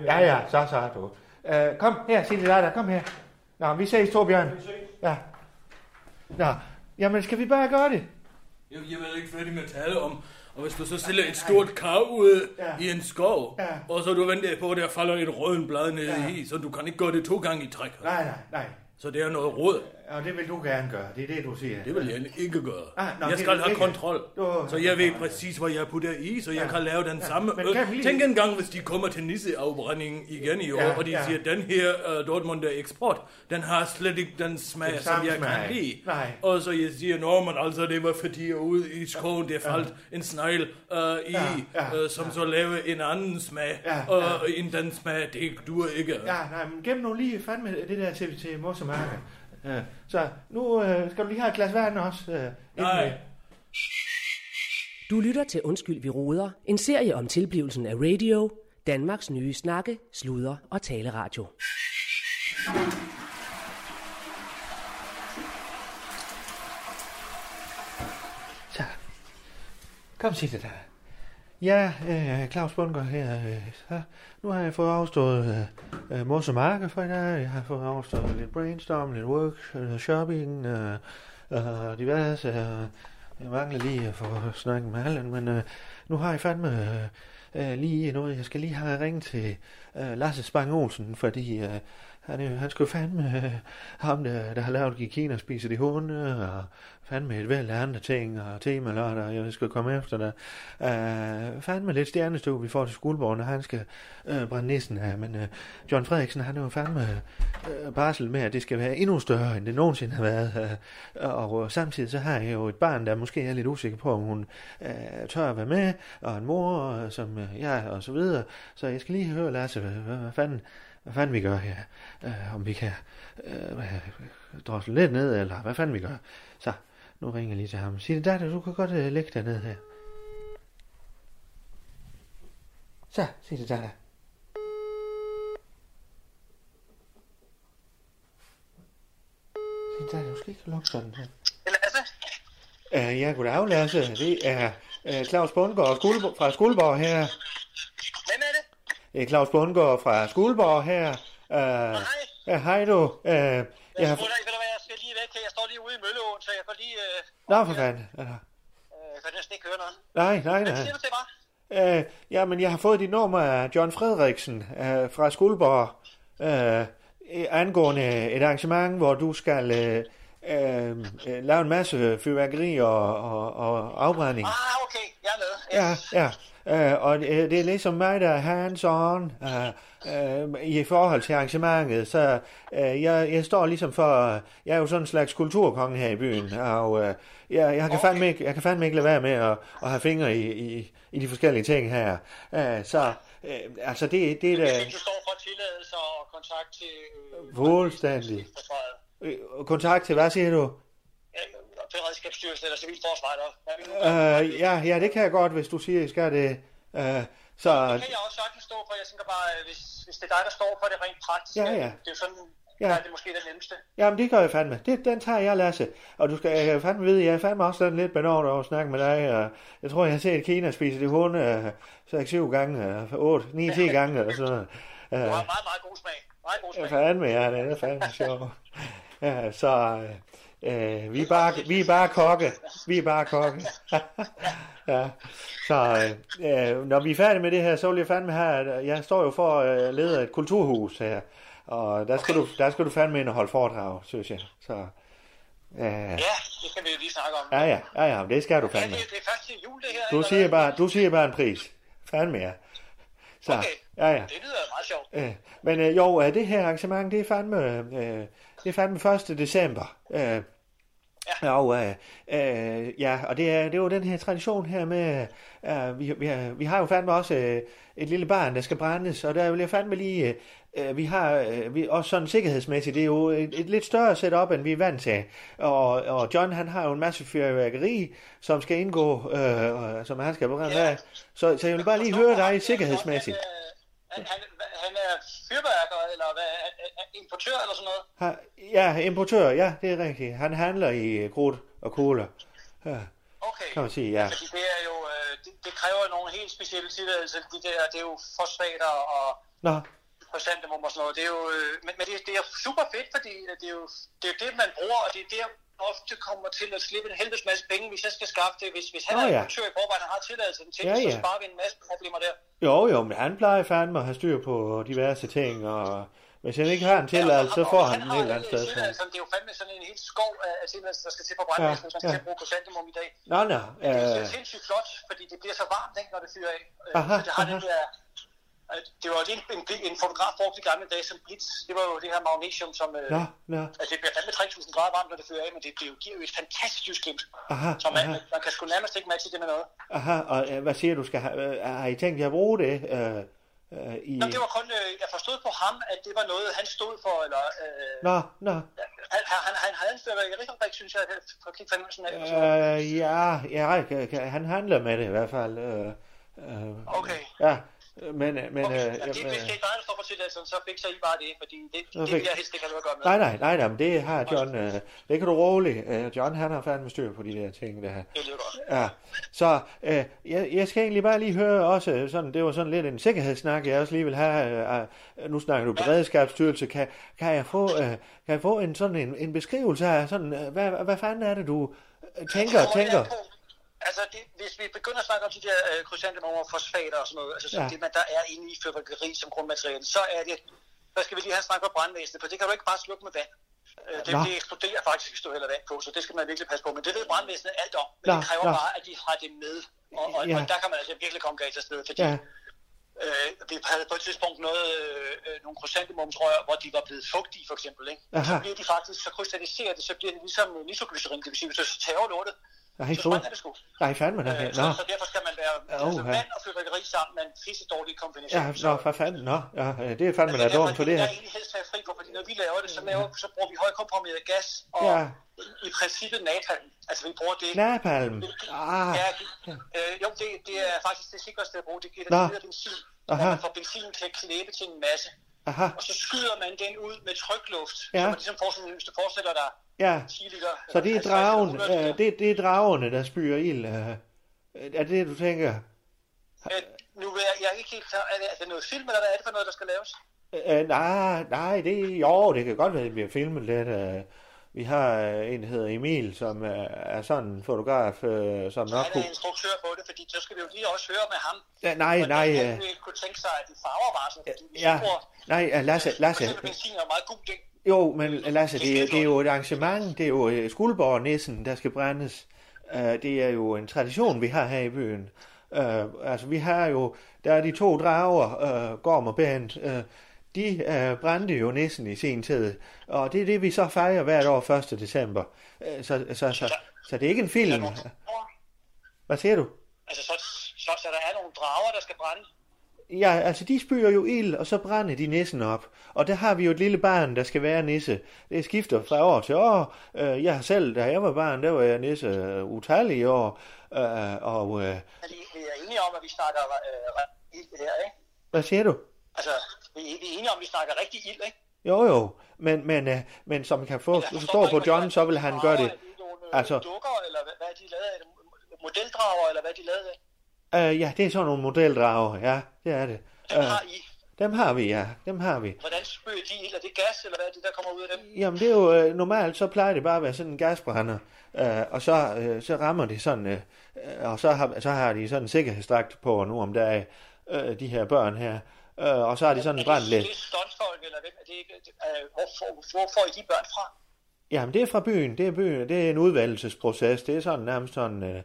Ja, ja, ja, så, så du. Øh, kom her, Sidi Dada, kom her. Nå, vi ses, Torbjørn. Ja. Nå, jamen skal vi bare gøre det?
Jeg, jeg er ikke færdig med at tale om, og hvis du så stiller et stort kar ud
Ja.
ja. i en skov,
Ja.
ja. og så du venter på, at der falder et rødent blad ned
Ja.
ja. i, så du kan ikke gøre det to gange i træk.
Nej, nej, nej.
Så det er noget råd.
Og det vil du gerne gøre. Det er det, du siger.
Det vil jeg ikke gøre.
Ah, nå,
jeg
det
skal
vil
have
ikke.
kontrol.
Åh,
Så jeg ved præcis, hvad jeg putter i, så jeg
Ja.
kan lave den samme
men
øl.
kan vi lige-
Tænk engang, hvis de kommer til nisseafbrændingen igen i år,
Ja,
og de
ja.
siger, den her uh, Dortmunder eksport, den har slet ikke den smag,
Den
som
samme
jeg
smag.
kan lide.
Nej.
Og så jeg siger, nå, men altså, det var fordi ude i skoven, der faldt en snegl uh, i,
Ja, ja,
uh, som så lavede en anden smag,
Ja,
og en den smag, det dur ikke.
Ja, nej, men gem nu lige fandme det der til, til mors og marker. Øh, så nu øh, skal du lige have et glas vand også. Øh,
Nej.
inden vi-
Du lytter til Undskyld, vi roder, en serie om tilblivelsen af radio, Danmarks nye snakke, sludre og taleradio.
Så. Kom, sig det der. Ja, øh, Claus Bundgaard her. Øh, så nu har jeg fået afstået øh, øh, mors og marker for i dag. Jeg har fået afstået lidt brainstorm, lidt work, øh, shopping øh, og diverse. Øh, jeg mangler lige at få snakket med Allan, men øh, nu har jeg fandme øh, øh, lige noget. Jeg skal lige have ringet til øh, Lasse Spang Olsen, fordi øh, han, øh, han skulle fandme øh, ham, der, der har lavet Gikina spiser de hunde, og fandme et væld af andre ting, og tema lørdag, og jeg skal komme efter dig. Uh, fandme lidt stjernestøv, vi får til skuldborgen, og han skal øh, brænde nissen af, men øh, John Frederiksen, han er jo fandme øh, barsel med, at det skal være endnu større, end det nogensinde har været. Øh, og øh, samtidig så har jeg jo et barn, der måske er lidt usikker på, om hun øh, tør at være med, og en mor, øh, som øh, jeg, og så videre. Så jeg skal lige høre, Lasse, hvad, hvad, hvad fanden hvad fanden vi gør her, øh, om vi kan øh, hvad- drosle lidt ned, eller hvad fanden vi gør. Så, nu ringer jeg lige til ham. Sig det der, du kan godt øh, lægge dig ned her. Så, sig det der. Sig det der, du skal ikke lukke sådan her. Uh, ja, goddag Lasse. Det er uh, Claus Bundgaard Skuldborg, fra Skuldborg her.
Hvem er det?
Det er Claus Bundgaard fra Skuldborg her. Uh,
Hej.
ja, hej du. Uh, jeg
Jeg,
har...
smutter, ikke, ved du hvad, jeg skal lige væk her. Jeg står lige ude i Mølleåen, så jeg går lige... Øh,
Nå, for fanden. Altså,
øh, jeg kan næsten ikke høre noget.
Nej, nej,
Hvad
nej.
siger du til mig?
Øh, ja, men jeg har fået dit nummer af John Frederiksen øh, fra Skuldborg øh, øh, angående et arrangement, hvor du skal øh, øh, øh, lave en masse fyrværkeri og, og, og afbrænding.
Ah, okay. Jeg er med.
Ja, ja. Øh, og øh, det er ligesom mig, der er hands-on øh, øh, i forhold til arrangementet. Så øh, jeg, jeg står ligesom for... øh, Jeg er jo sådan en slags kulturkonge her i byen, og øh, jeg, jeg, kan fandme ikke, jeg kan fandme ikke lade være med at, at have fingre i, i, i de forskellige ting her. Øh, så øh, altså, det, det er da
Du står for tilladelse og kontakt til... Øh,
fuldstændig.
forsvaret.
Øh, Kontakt til, hvad siger du?
Ja, Beredskabsstyrelsen eller Civilforsvaret. og hvad vi nu gør.
Øh, ja, ja, det kan jeg godt, hvis du siger, at I skal det. Øh, så...
Det kan jeg også sagtens stå for. Jeg tænker bare, øh, hvis, hvis det er dig, der står for det rent praktisk,
Ja, ja.
det er jo sådan,
Ja.
Ja. Der er det måske det nemmeste.
Jamen, det gør jeg fandme. Det, den tager jeg, Lasse. Og du skal jeg kan fandme vide, jeg er fandme også sådan lidt benovet over at snakke med dig. Og jeg tror, jeg har set Kina spise det hund øh, 6-7 gange, øh, 8, 9-10 gange eller sådan noget. Øh,
Du har meget, meget god smag. Meget god
Ja,
smag.
fandme, ja, det er fandme sjovt. Ja, så øh, øh, vi, er bare, vi er bare kokke. Vi er bare kokke. ja, så øh, øh, når vi er færdige med det her, så vil jeg fandme have, at jeg står jo for at øh, lede et kulturhus her. Og der skal, du, der skal du fandme ind og holde foredrag, synes jeg. Så, øh, ja,
Ja, det skal vi jo lige snakke om.
ja, ja, ja, det skal du
Ja,
fandme.
det, det er først til jul, det her.
Du
ikke?
siger bare, du siger bare en pris. Fandme, ja. Så,
Okay.
ja, ja.
Det lyder meget sjovt.
Øh, men øh, jo, øh, det her arrangement, det er fandme, øh, det er fandme 1. december. Øh, og, øh, øh, ja, og det er, det er jo den her tradition her med, øh, vi, vi, vi har jo fandme også øh, et lille barn, der skal brændes, og der vil jeg fandme lige, øh, vi har øh, vi, også sådan sikkerhedsmæssigt, det er jo et, et lidt større setup, end vi er vant til. Og, og John, han har jo en masse fyrværkeri, som skal indgå, øh, og- som han skal brænde af. Så, så jeg vil bare lige høre dig sikkerhedsmæssigt.
Han, øh, han, han er fyrværker, eller hvad, er, er, er importør eller sådan noget.
Ha, ja, importør, ja, det er rigtigt. Han handler i øh, krudt og cola. Ja,
Okay.
kan man sige, ja.
Fordi det er jo, øh, det, det kræver jo nogle helt specielle tilladelser, de der, det er jo fosfater og
Nå,
chrysantemum og sådan noget. Det er jo, øh, men, men det, det er super fedt, fordi at det er jo det, er jo det, man bruger, og det er der man ofte kommer til at slippe en helvedes masse penge, hvis jeg skal skaffe det. Hvis, hvis han
Nå
er
ja.
importør i forvejen, og har tilladelse til
Ja,
det, så
ja.
sparer vi en masse problemer der.
jo, jo, men han plejer fandme at have styr på diverse ting, og hvis han ikke har en tilladelse, så får han den et eller andet sted. fra.
Altså, det er jo fandme sådan en helt skov af, af tilladelser, der skal til for brandvæsen,
Ja,
hvis man skal
ja.
til at bruge chrysantemum i dag.
Nå, nå,
Men det er
øh.
sindssygt flot, fordi det bliver så varmt, ikke, når det fyrer af. Øh,
Aha,
så det har det
aha.
der... øh, Det var jo det, en, en, en fotograf brugte i gamle dage som blitz. Det var jo det her magnesium, som... Øh,
Nå, nå,
Altså, det bliver fandme 3000 grader varmt, når det fyrer af, men det, det jo giver jo et fantastisk glimt.
aha,
Så man,
aha,
man kan sgu nærmest ikke matche det med noget.
aha, og øh, hvad siger du, skal have, øh, har I tænkt jer at bruge det øh, øh, i...
Nå, det var kun... Øh, jeg forstod på ham, at det var noget, han stod for, eller... Øh,
Nå, nå,
han, han, han, han havde en fyrværkerifabrik, synes jeg, for Kik Fandmølsen af. Øh,
øh, ja, ja, kan- kan- han handler med det i hvert fald. Øh, øh,
Okay.
Ja, men... øh, men
Okay,
øh,
ja, det,
jamen,
hvis det ikke var for på tilladelsen, så fik så I bare det, fordi det,
Så
det
fik-
vil jeg helst ikke have noget at gøre med.
Nej, nej, nej, nej, men det har John, øh, det kan du roligt. Øh, John, han har fandme styr på de der ting, der.
Det lyder godt.
Ja, så øh, jeg, jeg skal egentlig bare lige høre også, øh, sådan, det var sådan lidt en sikkerhedssnak, jeg også lige vil have. Øh, øh, nu snakker du beredskabsstyrelse. Kan, kan, jeg, få, øh, kan jeg få en sådan en, en beskrivelse af, sådan, øh, hvad, hvad fanden er det, du øh, tænker
Kommer
og
det
tænker?
an på- Altså, det, hvis vi begynder at snakke om de der øh, krysantemummer, fosfater og sådan noget, altså
Ja.
ja. det, man der er inde i fyrværkeri som grundmateriale, så er det, der skal vi lige have en snak om brandvæsenet, for det kan du ikke bare slukke med vand. Øh, Det,
Nå.
det eksploderer faktisk, hvis du hælder vand på, så det skal man virkelig passe på. Men det ved brandvæsenet alt om, men
Nå,
det kræver
nå.
bare, at de har det med. Og, og,
Ja.
og der kan man altså virkelig komme galt afsted, fordi
Ja,
øh, vi havde på et tidspunkt noget, øh, øh, nogle krysantemumsrør, hvor de var blevet fugtige, for eksempel. Ikke? Så
Aha.
bliver de faktisk, så krystalliserer det, så bliver det ligesom øh, nitroglycerin, det vil sige, hvis du tager lortet,
nej,
så
for,
sprænger det sgu.
nej fandme nej.
Øh, så,
Nå,
så derfor skal man være
Ja,
altså,
uha.
vand og fyrværkeri sammen med en pisse dårlig kombination.
ja,
Så-
nå, for fanden, nå, ja, øh, det er fandme
altså,
da
derfor
dumt for
vil
det her.
Jeg egentlig helst have fri på, fordi når vi laver det, så, laver, så bruger vi højkomprimeret gas og
Ja.
ja. i princippet napalm. Altså vi bruger det.
Napalm, ah,
Ja, øh, jo, det, det er faktisk det sikreste at bruge. Det giver
Nå.
dig videre benzin. Aha.
Aha.
man får benzin til at klæbe til en masse.
aha,
Og så skyder man den ud med trykluft.
Ja.
Så man ligesom forestiller, hvis du forestiller dig
ja.
10 liter.
Så det er
50 eller
dragen,
100 liter.
øh, det, det er dragerne, der spyrer ild. Øh. Er det det, du tænker?
Øh, nu er jeg, jeg er ikke helt klar. Er det, er det noget film, eller hvad er det for noget, der skal laves?
Øh, nej, nej, det, jo, det kan godt være, at det bliver filmet lidt. Øh. Vi har øh, en, der hedder Emil, som øh, er sådan en fotograf, øh, som nok
Han er
kunne...
instruktør på det, fordi så skal vi jo lige også høre med ham.
Ja, nej,
hvordan
nej,
Han
øh,
øh, kunne tænke sig, at de farver var sådan. Fordi hvis
ja,
du bruger-
nej, øh, Lasse, Lasse,
For eksempel benzin er jo meget god ting.
jo, men Lasse, det, er- det er jo et arrangement, det er jo øh, Skuldborg-nissen, der skal brændes. Øh, det er jo en tradition, vi har her i byen. Øh, altså, vi har jo, der er de to drager, øh, Gorm og Bent, øh, de øh, brændte jo nissen i sin tid, og det er det, vi så fejrer hvert år 1. december. Øh, så, så, så, så det er ikke en film. Hvad siger du?
Altså, så, så, så der er nogle drager, der skal brænde.
Ja, altså de spyrer jo ild, og så brænder de nissen op. Og der har vi jo et lille barn, der skal være nisse. Det skifter fra år til år. Øh, Jeg har selv, da jeg var barn, der var jeg nisse øh, utallige år. Øh, Og øh,
Er vi, vi er enige om, at vi snakker øh, re- ild her, ikke?
hvad siger du?
Altså, vi, vi er enige om, at vi snakker rigtig ild, ikke?
Jo, jo, men, men, øh, men som kan
Altså,
få, forstå på John, så vil han gøre det. Altså,
øh, dukker, eller hvad, hvad er de lavet af? Modeldrager, eller hvad er de lavet af?
øh, ja, det er sådan nogle modeldrager, ja, det er det. Øh,
Dem har I?
Dem har vi, ja, dem har vi.
Hvordan spøger de ild? Er det gas, eller hvad er det, der kommer ud af dem?
Jamen det er jo øh, normalt, så plejer det bare at være sådan en gasbrænder, øh, og så, øh, så rammer det sådan, øh, øh, og så har, så har de sådan en sikkerhedsdragt på nu om dagen, øh, de her børn her, øh, og så har de sådan en brændt
Det
lidt.
er stuntfolk, eller hvem er det ikke? Det- øh, Hvor, får, hvor får I de børn fra?
Jamen det er fra byen, det er byen, det er en udvalgelsesproces, det er sådan nærmest sådan, øh,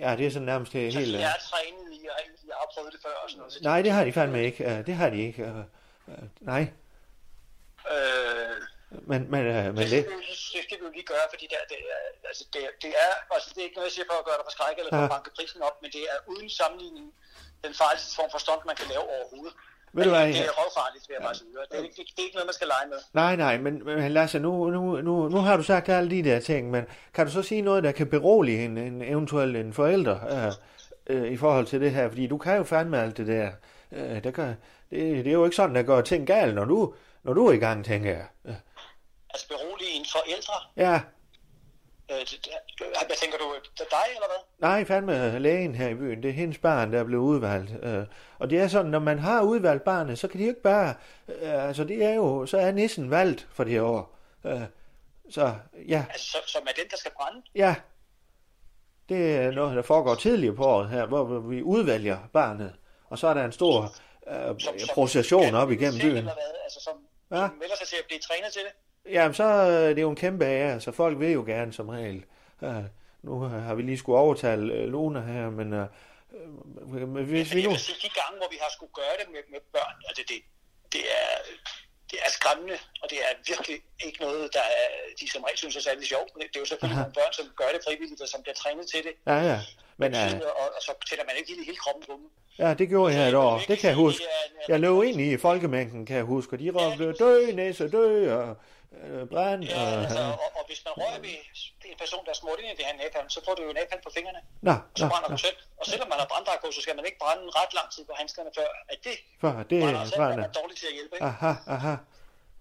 ja det er sådan nærmest det hele.
De
Øh.
Altså, er trænet i, og I har prøvet det før og sådan noget. så de-
Nej, det har de fandme ikke, øh, det har de ikke, øh, øh, nej,
Øh,
men, men, øh, men
det, skal
det,
vi jo lige- det skal vi jo lige gøre, fordi det, er- det, er, altså det, er- det er, altså det er ikke noget, jeg siger for at gøre dig for skræk eller for
Ja.
at banke prisen op, men det er uden sammenligning den farligste form for stunt, man kan lave overhovedet.
Ved du hvad,
det, det
jeg-
er røvfarligt, vil jeg bare sige. Det er, ikke, det er ikke noget, man skal lege med.
nej, nej, men, men Lasse, nu, nu, nu, nu har du sagt alle de der ting, men kan du så sige noget, der kan berolige en, en eventuel en forælder øh, øh, i forhold til det her, fordi du kan jo fandme alt det der, øh, der gør, det, det er jo ikke sådan, der går ting galt, når du, når du er i gang, tænker jeg. Øh,
Altså berolige en forældre.
Ja,
Øh, det, det- hvad tænker du? Det er dig eller hvad?
Nej, fandme øh, lægen her i byen, det er hendes barn, der er blevet udvalgt. Øh, og det er sådan, når man har udvalgt barnet, så kan de jo ikke bare... Øh, altså, det er jo... Så er nissen valgt for det år. Øh, så, ja,
Altså, som, som er den, der skal brænde?
ja. Det er noget, der foregår tidligere på året her, hvor vi udvælger barnet. Og så er der en stor øh, procession op igennem
Selv,
byen.
Eller hvad? Altså, som,
Ja.
som melder sig til at blive trænet til det.
Jamen, så øh, det er jo en kæmpe ære, så folk vil jo gerne som regel. Øh, nu øh, har vi lige skulle overtale øh, Luna her, men... Øh, øh, men hvis vi
Jeg
nu...
vil sige, de gange, hvor vi har skulle gøre det med, med børn, altså det, det, er, det er skræmmende, og det er virkelig ikke noget, der er, de som regel synes er særlig sjovt. Det det er jo selvfølgelig nogle børn, som gør det frivilligt, og som bliver trænet til det.
Ja, ja. Men øh,
Ja. Og, og, så tæller man ikke hele, hele kroppen på dem.
ja, det gjorde jeg et år. Det kan jeg huske. Jeg løb ind i folkemængden, kan jeg huske. Og de råbte, dø, næse, dø, og øh, brænd.
Ja,
Og,
altså, og, og, hvis man rører ved en person, der er smurt ind i det her napalm, så får du jo napalm på fingrene.
Nå,
Og så
nå,
brænder
nå.
du selv. Og selvom man har branddrag på, så skal man ikke brænde ret lang tid på handskerne før, at det
for det
brænder os
er
af, man
brænder.
er dårlig til at hjælpe. Ikke?
Aha, aha.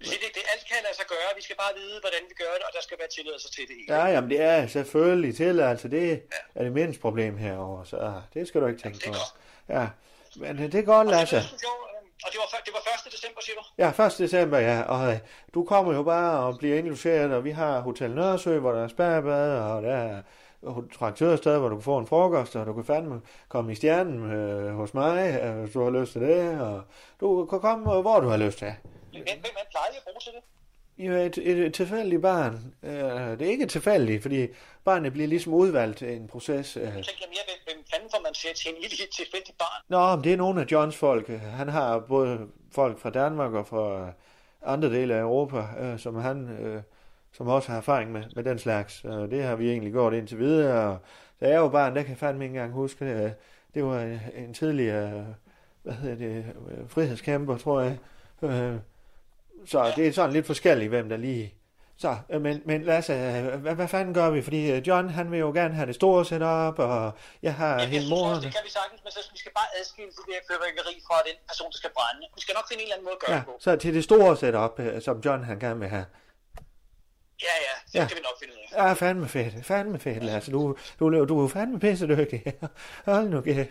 Det, det, det, alt kan lade sig gøre. Vi skal bare vide, hvordan vi gør det, og der skal være tilladelse til det hele.
Ja, jamen det er selvfølgelig til, altså det er det mindste problem herovre, så ah, det skal du ikke tænke på. Ja, men øh, det er godt, Lasse.
Og det var, før- det var 1. december, siger du?
Ja, 1. december, ja, og øh, du kommer jo bare og bliver indlogeret, og vi har Hotel Nørresø, hvor der er spærrebad, og der er ho- traktørsted, hvor du kan få en frokost, og du kan fandme komme i stjernen øh, hos mig, øh, hvis du har lyst til det, og du kan komme, øh, hvor du har lyst til.
Hvem, hvem man plejer I at bruge til det?
Jo, et, et, et tilfældigt barn, øh, det er ikke tilfældigt, fordi barnet bliver ligesom udvalgt i en proces. Øh.
Jeg tænker mere, hvem, hvem fanden får man til at tænde ild i et tilfældigt barn?
Nå, men det er nogle af Johns folk. Han har både folk fra Danmark og fra andre dele af Europa, øh, som han øh, som også har erfaring med, med den slags. Og det har vi egentlig gjort indtil videre. Og da jeg var barn, der kan jeg fandme ikke engang huske det. Øh, Det var en- en tidligere, øh, hvad hedder det, øh, frihedskæmper, tror jeg. Øh, så det er sådan lidt forskelligt, hvem der lige... Så, øh, men, men Lasse, øh, hvad, hvad fanden gør vi? Fordi øh, John, han vil jo gerne have det store setup, og jeg har ja,
Jeg
hele
synes også,
moren.
det kan vi sagtens, men så vi skal bare adskille det der fyrværkeri fra den person, der skal brænde. Vi skal nok finde en eller anden måde at gøre
Ja,
det på.
så til det store setup, øh, som John han gerne vil have.
Ja, ja, det
Ja.
skal vi nok finde ud af.
Ja, fandme fedt, fandme fedt, Lasse. Du, du, lever- du er fandme pissedygtig. Hold nu kæft.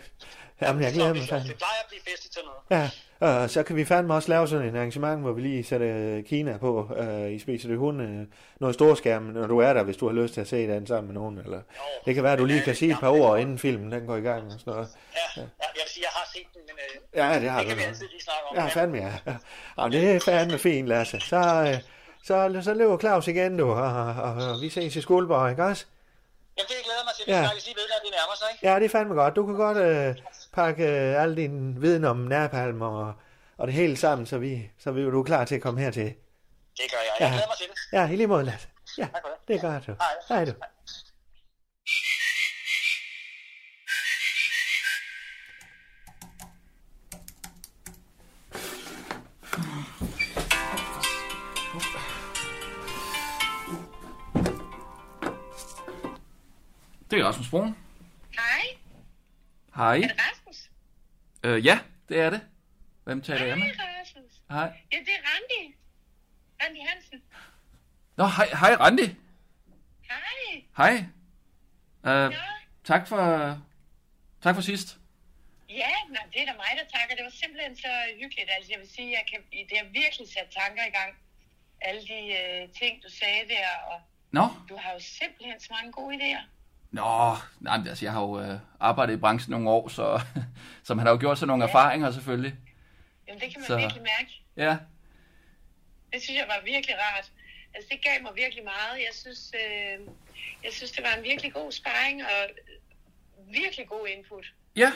Jamen, jeg glæder mig fandme.
Det plejer at blive festet til noget.
Ja, og så kan vi fandme også lave sådan et arrangement, hvor vi lige sætter øh, Kina på øh, i Spiser det Hund. Øh, noget storskærm, når du er der, hvis du har lyst til at se den sammen med nogen. Eller, det kan være, at du lige kan sige et par ord, inden filmen den går i gang og sådan noget.
Ja, ja, jeg vil sige, jeg har set den, men øh,
Ja, det har
det
du
kan vi
nok.
altid lige snakke om.
Ja, fandme ja. Jamen, det er fandme fint, Lasse. Så, øh, så, så lever Claus igen, du, og, og, og vi ses i Skuldborg, ikke også?
Jamen, det glæder jeg mig til. Vi
Ja.
ja. snakkes lige ved, når vi nærmer sig, ikke?
Ja, det er fandme godt. Du kan godt øh, pakke øh, al din viden om nærpalm og, og det hele sammen, så vi, så vi du er klar til at komme hertil.
Det gør jeg. Jeg
Ja.
glæder mig til det.
Ja, i lige måde, Lasse. Ja, det gør du. Hej du.
Det er Rasmus Broen.
Hej,
Hej.
er det Rasmus?
Øh, ja, det er det. Hvem taler jeg med?
Hej, Rasmus.
Hej.
Ja, det er Randi.
Randi Hansen.
Nå, hej, hej Randi.
Hej.
Hej. Uh, tak for... Tak for sidst.
Ja, nå, det er da mig, der takker. Det var simpelthen så hyggeligt. Altså, jeg vil sige, jeg kan, det har virkelig sat tanker i gang. Alle de øh, ting, du sagde der, og
Nå.
du har jo simpelthen så mange gode idéer.
Nå, nej, men altså, jeg har jo øh, arbejdet i branchen nogle år, så, så man har jo gjort sig nogle erfaringer selvfølgelig.
Jamen, det kan man
Så-
så... virkelig mærke.
Ja,
Det synes jeg var virkelig rart. Altså, det gav mig virkelig meget. Jeg synes, øh, jeg synes det var en virkelig god sparring, og virkelig god input.
Ja.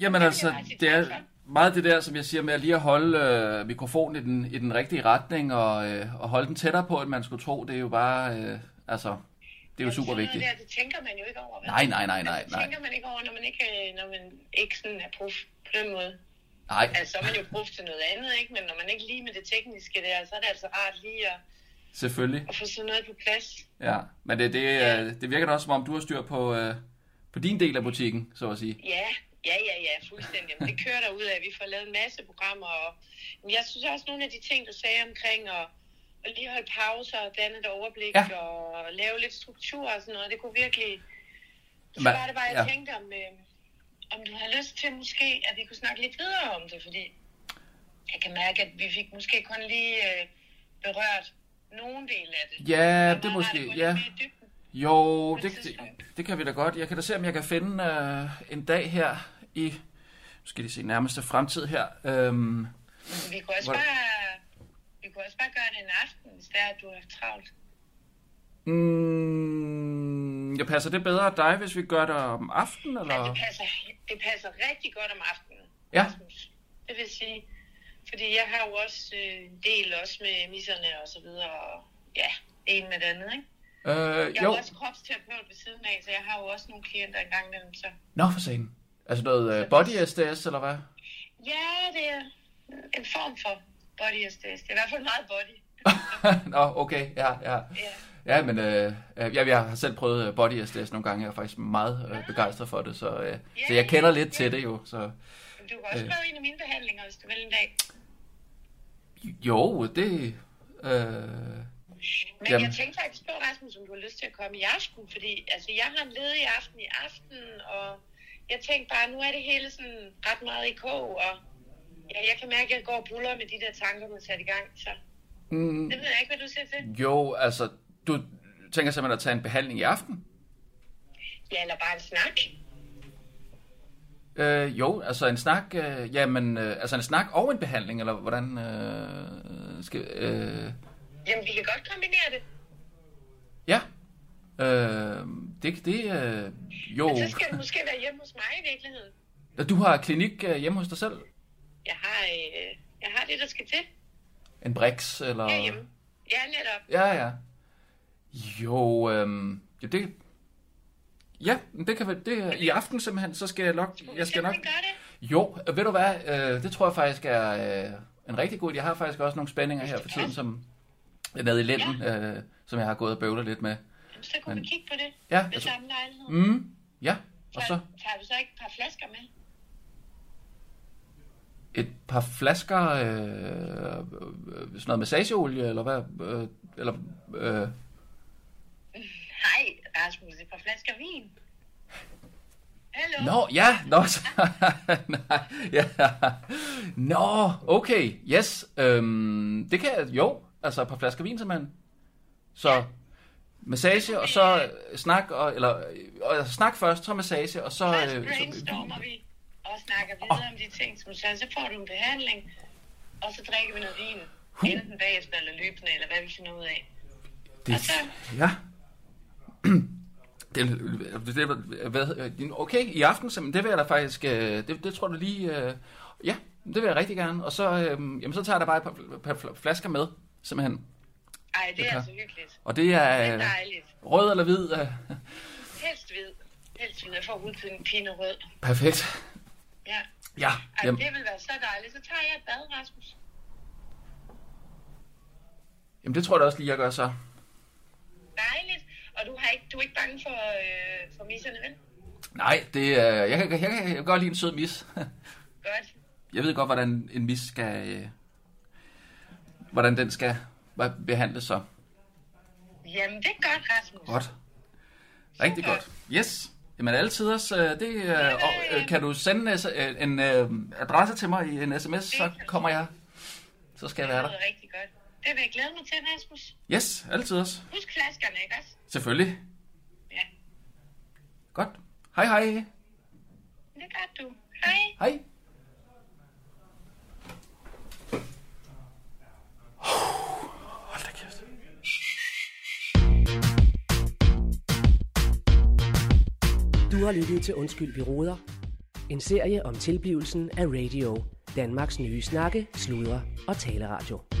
Jamen altså, det er meget det der, som jeg siger med at lige at holde øh, mikrofonen i den, i den rigtige retning og, øh, og holde den tættere på, end man skulle tro. Det er jo bare, øh, altså, det er jo super vigtigt.
Det, der, det tænker man jo ikke over. vel?
Nej, nej, nej, nej,
Det
nej.
tænker man ikke over, når man ikke, øh, når man ikke sådan er prof på den måde.
Nej.
Altså, så er man jo prof til noget andet, ikke? Men når man ikke lige med det tekniske der, så er det altså rart lige at,
Selvfølgelig.
at få sådan noget på plads.
Ja, men det, det, øh, det virker da også, som om du har styr på, øh, på din del af butikken, så at sige.
Ja, ja, ja, ja, fuldstændig. Jamen, det kører der ud af. Vi får lavet en masse programmer, og men jeg synes også, nogle af de ting, du sagde omkring at, at lige holde pauser og danne et overblik ja. og lave lidt struktur og sådan noget, det kunne virkelig... Så
Men-
var det bare, jeg
ja.
ja. tænkte, om, øh, om du havde lyst til måske, at vi kunne snakke lidt videre om det, fordi jeg kan mærke, at vi fik måske kun lige øh, berørt nogen del af det.
Ja, det er måske, ja. Jo, det, det, det kan vi da godt. Jeg kan da se, om jeg kan finde øh, en dag her i, nu skal de se, nærmeste fremtid her. Øhm,
Vi kunne også
hvor-
bare, vi kunne også bare gøre det en aften, hvis det er, at du har travlt.
Øhm,
Mm, jeg passer det bedre af dig, hvis vi gør det om aftenen,
Men det
eller?
passer, det passer rigtig godt om aftenen,
Ja.
det vil sige. Fordi jeg har jo også øh, en del også med misserne og så videre, og ja, det ene med det andet, ikke?
Øh,
jeg
jo.
er jo også kropsterapeut ved siden af, så jeg har jo også nogle klienter engang imellem, så...
Nå, for satan. Altså noget øh, body SDS, eller hvad?
Ja, det er en form for body SDS. Det er i hvert fald meget body.
Nå, okay, ja, ja. Ja, men øh, øh, jeg, jeg har selv prøvet øh, body SDS nogle gange, jeg er faktisk meget øh, begejstret for det, så, øh, så jeg kender lidt til det jo. Så,
Men Du kan også
Øh.
prøve en af mine behandlinger, hvis du vil en dag.
jo, det... Øh,
Men Jamen. jeg tænkte faktisk på, Rasmus, om du har lyst til at komme i aften, fordi altså, jeg har en ledig aften i aften, og jeg tænkte bare, nu er det hele sådan ret meget i kog, og ja, jeg kan mærke, at jeg går og buller med de der tanker, du har sat i gang, så
mm,
det ved jeg ikke, hvad du siger til.
jo, altså, du tænker simpelthen at tage en behandling i aften?
Ja, eller bare en snak.
Øh, jo, altså en snak, øh, jamen, øh, altså en snak og en behandling, eller hvordan øh, skal, øh,
Jamen, vi kan godt kombinere det.
ja, øh, det, det, øh, jo,
Men så skal det måske være hjemme hos mig i virkeligheden.
du har klinik øh, hjemme hos dig selv,
Jeg har, øh, jeg har det, der skal til.
en brix, eller,
Ja, hjemme. Ja, netop.
Ah. ja, ja, jo, øh, jo, det, ja, men det kan være, det, er- i aften simpelthen, så skal jeg nok, jeg skal nok, jo, øh, ved du hvad, øh, det tror jeg faktisk er øh, en rigtig god idé, jeg har faktisk også nogle spændinger her for tiden, som er nede i lænden, øh, som jeg har gået og bøvlet lidt med,
Jamen, så kunne
Men-
vi kigge på det
Ja,
ved
jeg tror-
samme lejlighed.
Mm, ja, og så
Tager du så ikke et par flasker med?
et par flasker, øh, øh, sådan noget massageolie, eller hvad? Øh, eller, øh,
Nej, Rasmus, et par flasker vin. Hallo?
nå, ja, nå, så, nej, ja. Nå, okay, yes, øhm, det kan jeg, jo, altså et par flasker vin simpelthen. Så massage, og så øh, snak, og, eller og, altså, snak først, så massage, og så...
Først
øh, så
brainstormer vi og snakker videre om de ting, som så, så får du en behandling, og så drikker vi noget vin.
Hm.
Enten bagefter eller løbende, eller hvad vi finder ud af.
det, ja. Det, det, det, hvad, øh, okay, i aften simpelthen, det vil jeg da faktisk, øh, det, det tror du lige, øh, ja, det vil jeg rigtig gerne. Og så, øh, jamen, så tager jeg da bare et par, par fl- flasker med, simpelthen.
Ej, det
Et
er
par.
altså hyggeligt.
Og det er
Det er dejligt.
rød eller hvid, øh,
Helst hvid. Helst hvid. Jeg får hudpine pine rød.
perfekt.
Ja.
Ja,
Ej,
jamen,
det vil være så dejligt. Så tager jeg et bad, Rasmus.
jamen, det tror jeg da også lige, jeg gør så.
Dejligt. Og du, har ikke, du er ikke bange for, øh, for misserne, vel?
Nej, det, øh, jeg, kan, jeg, kan, jeg kan godt lide en sød mis.
Godt.
Jeg ved godt, hvordan en mis skal, øh, hvordan den skal Hvad behandles så?
Jamen, det er godt, Rasmus.
Godt. Rigtig godt. Yes. Jamen altid også, øh, det, øh, og, øh, kan du sende en, øh, en øh, adresse til mig i en sms, så kommer jeg. Så skal jeg være der.
Det er rigtig godt. Det vil jeg glæde mig til, Rasmus.
Yes, altid også.
Husk flaskerne, ikke også?
Selvfølgelig.
Ja.
Godt. Hej hej.
Det er godt, du. Hej.
Hej.
Du har lyttet til Undskyld, vi råder. En serie om tilblivelsen af radio. Danmarks nye snakke, sludre og taleradio.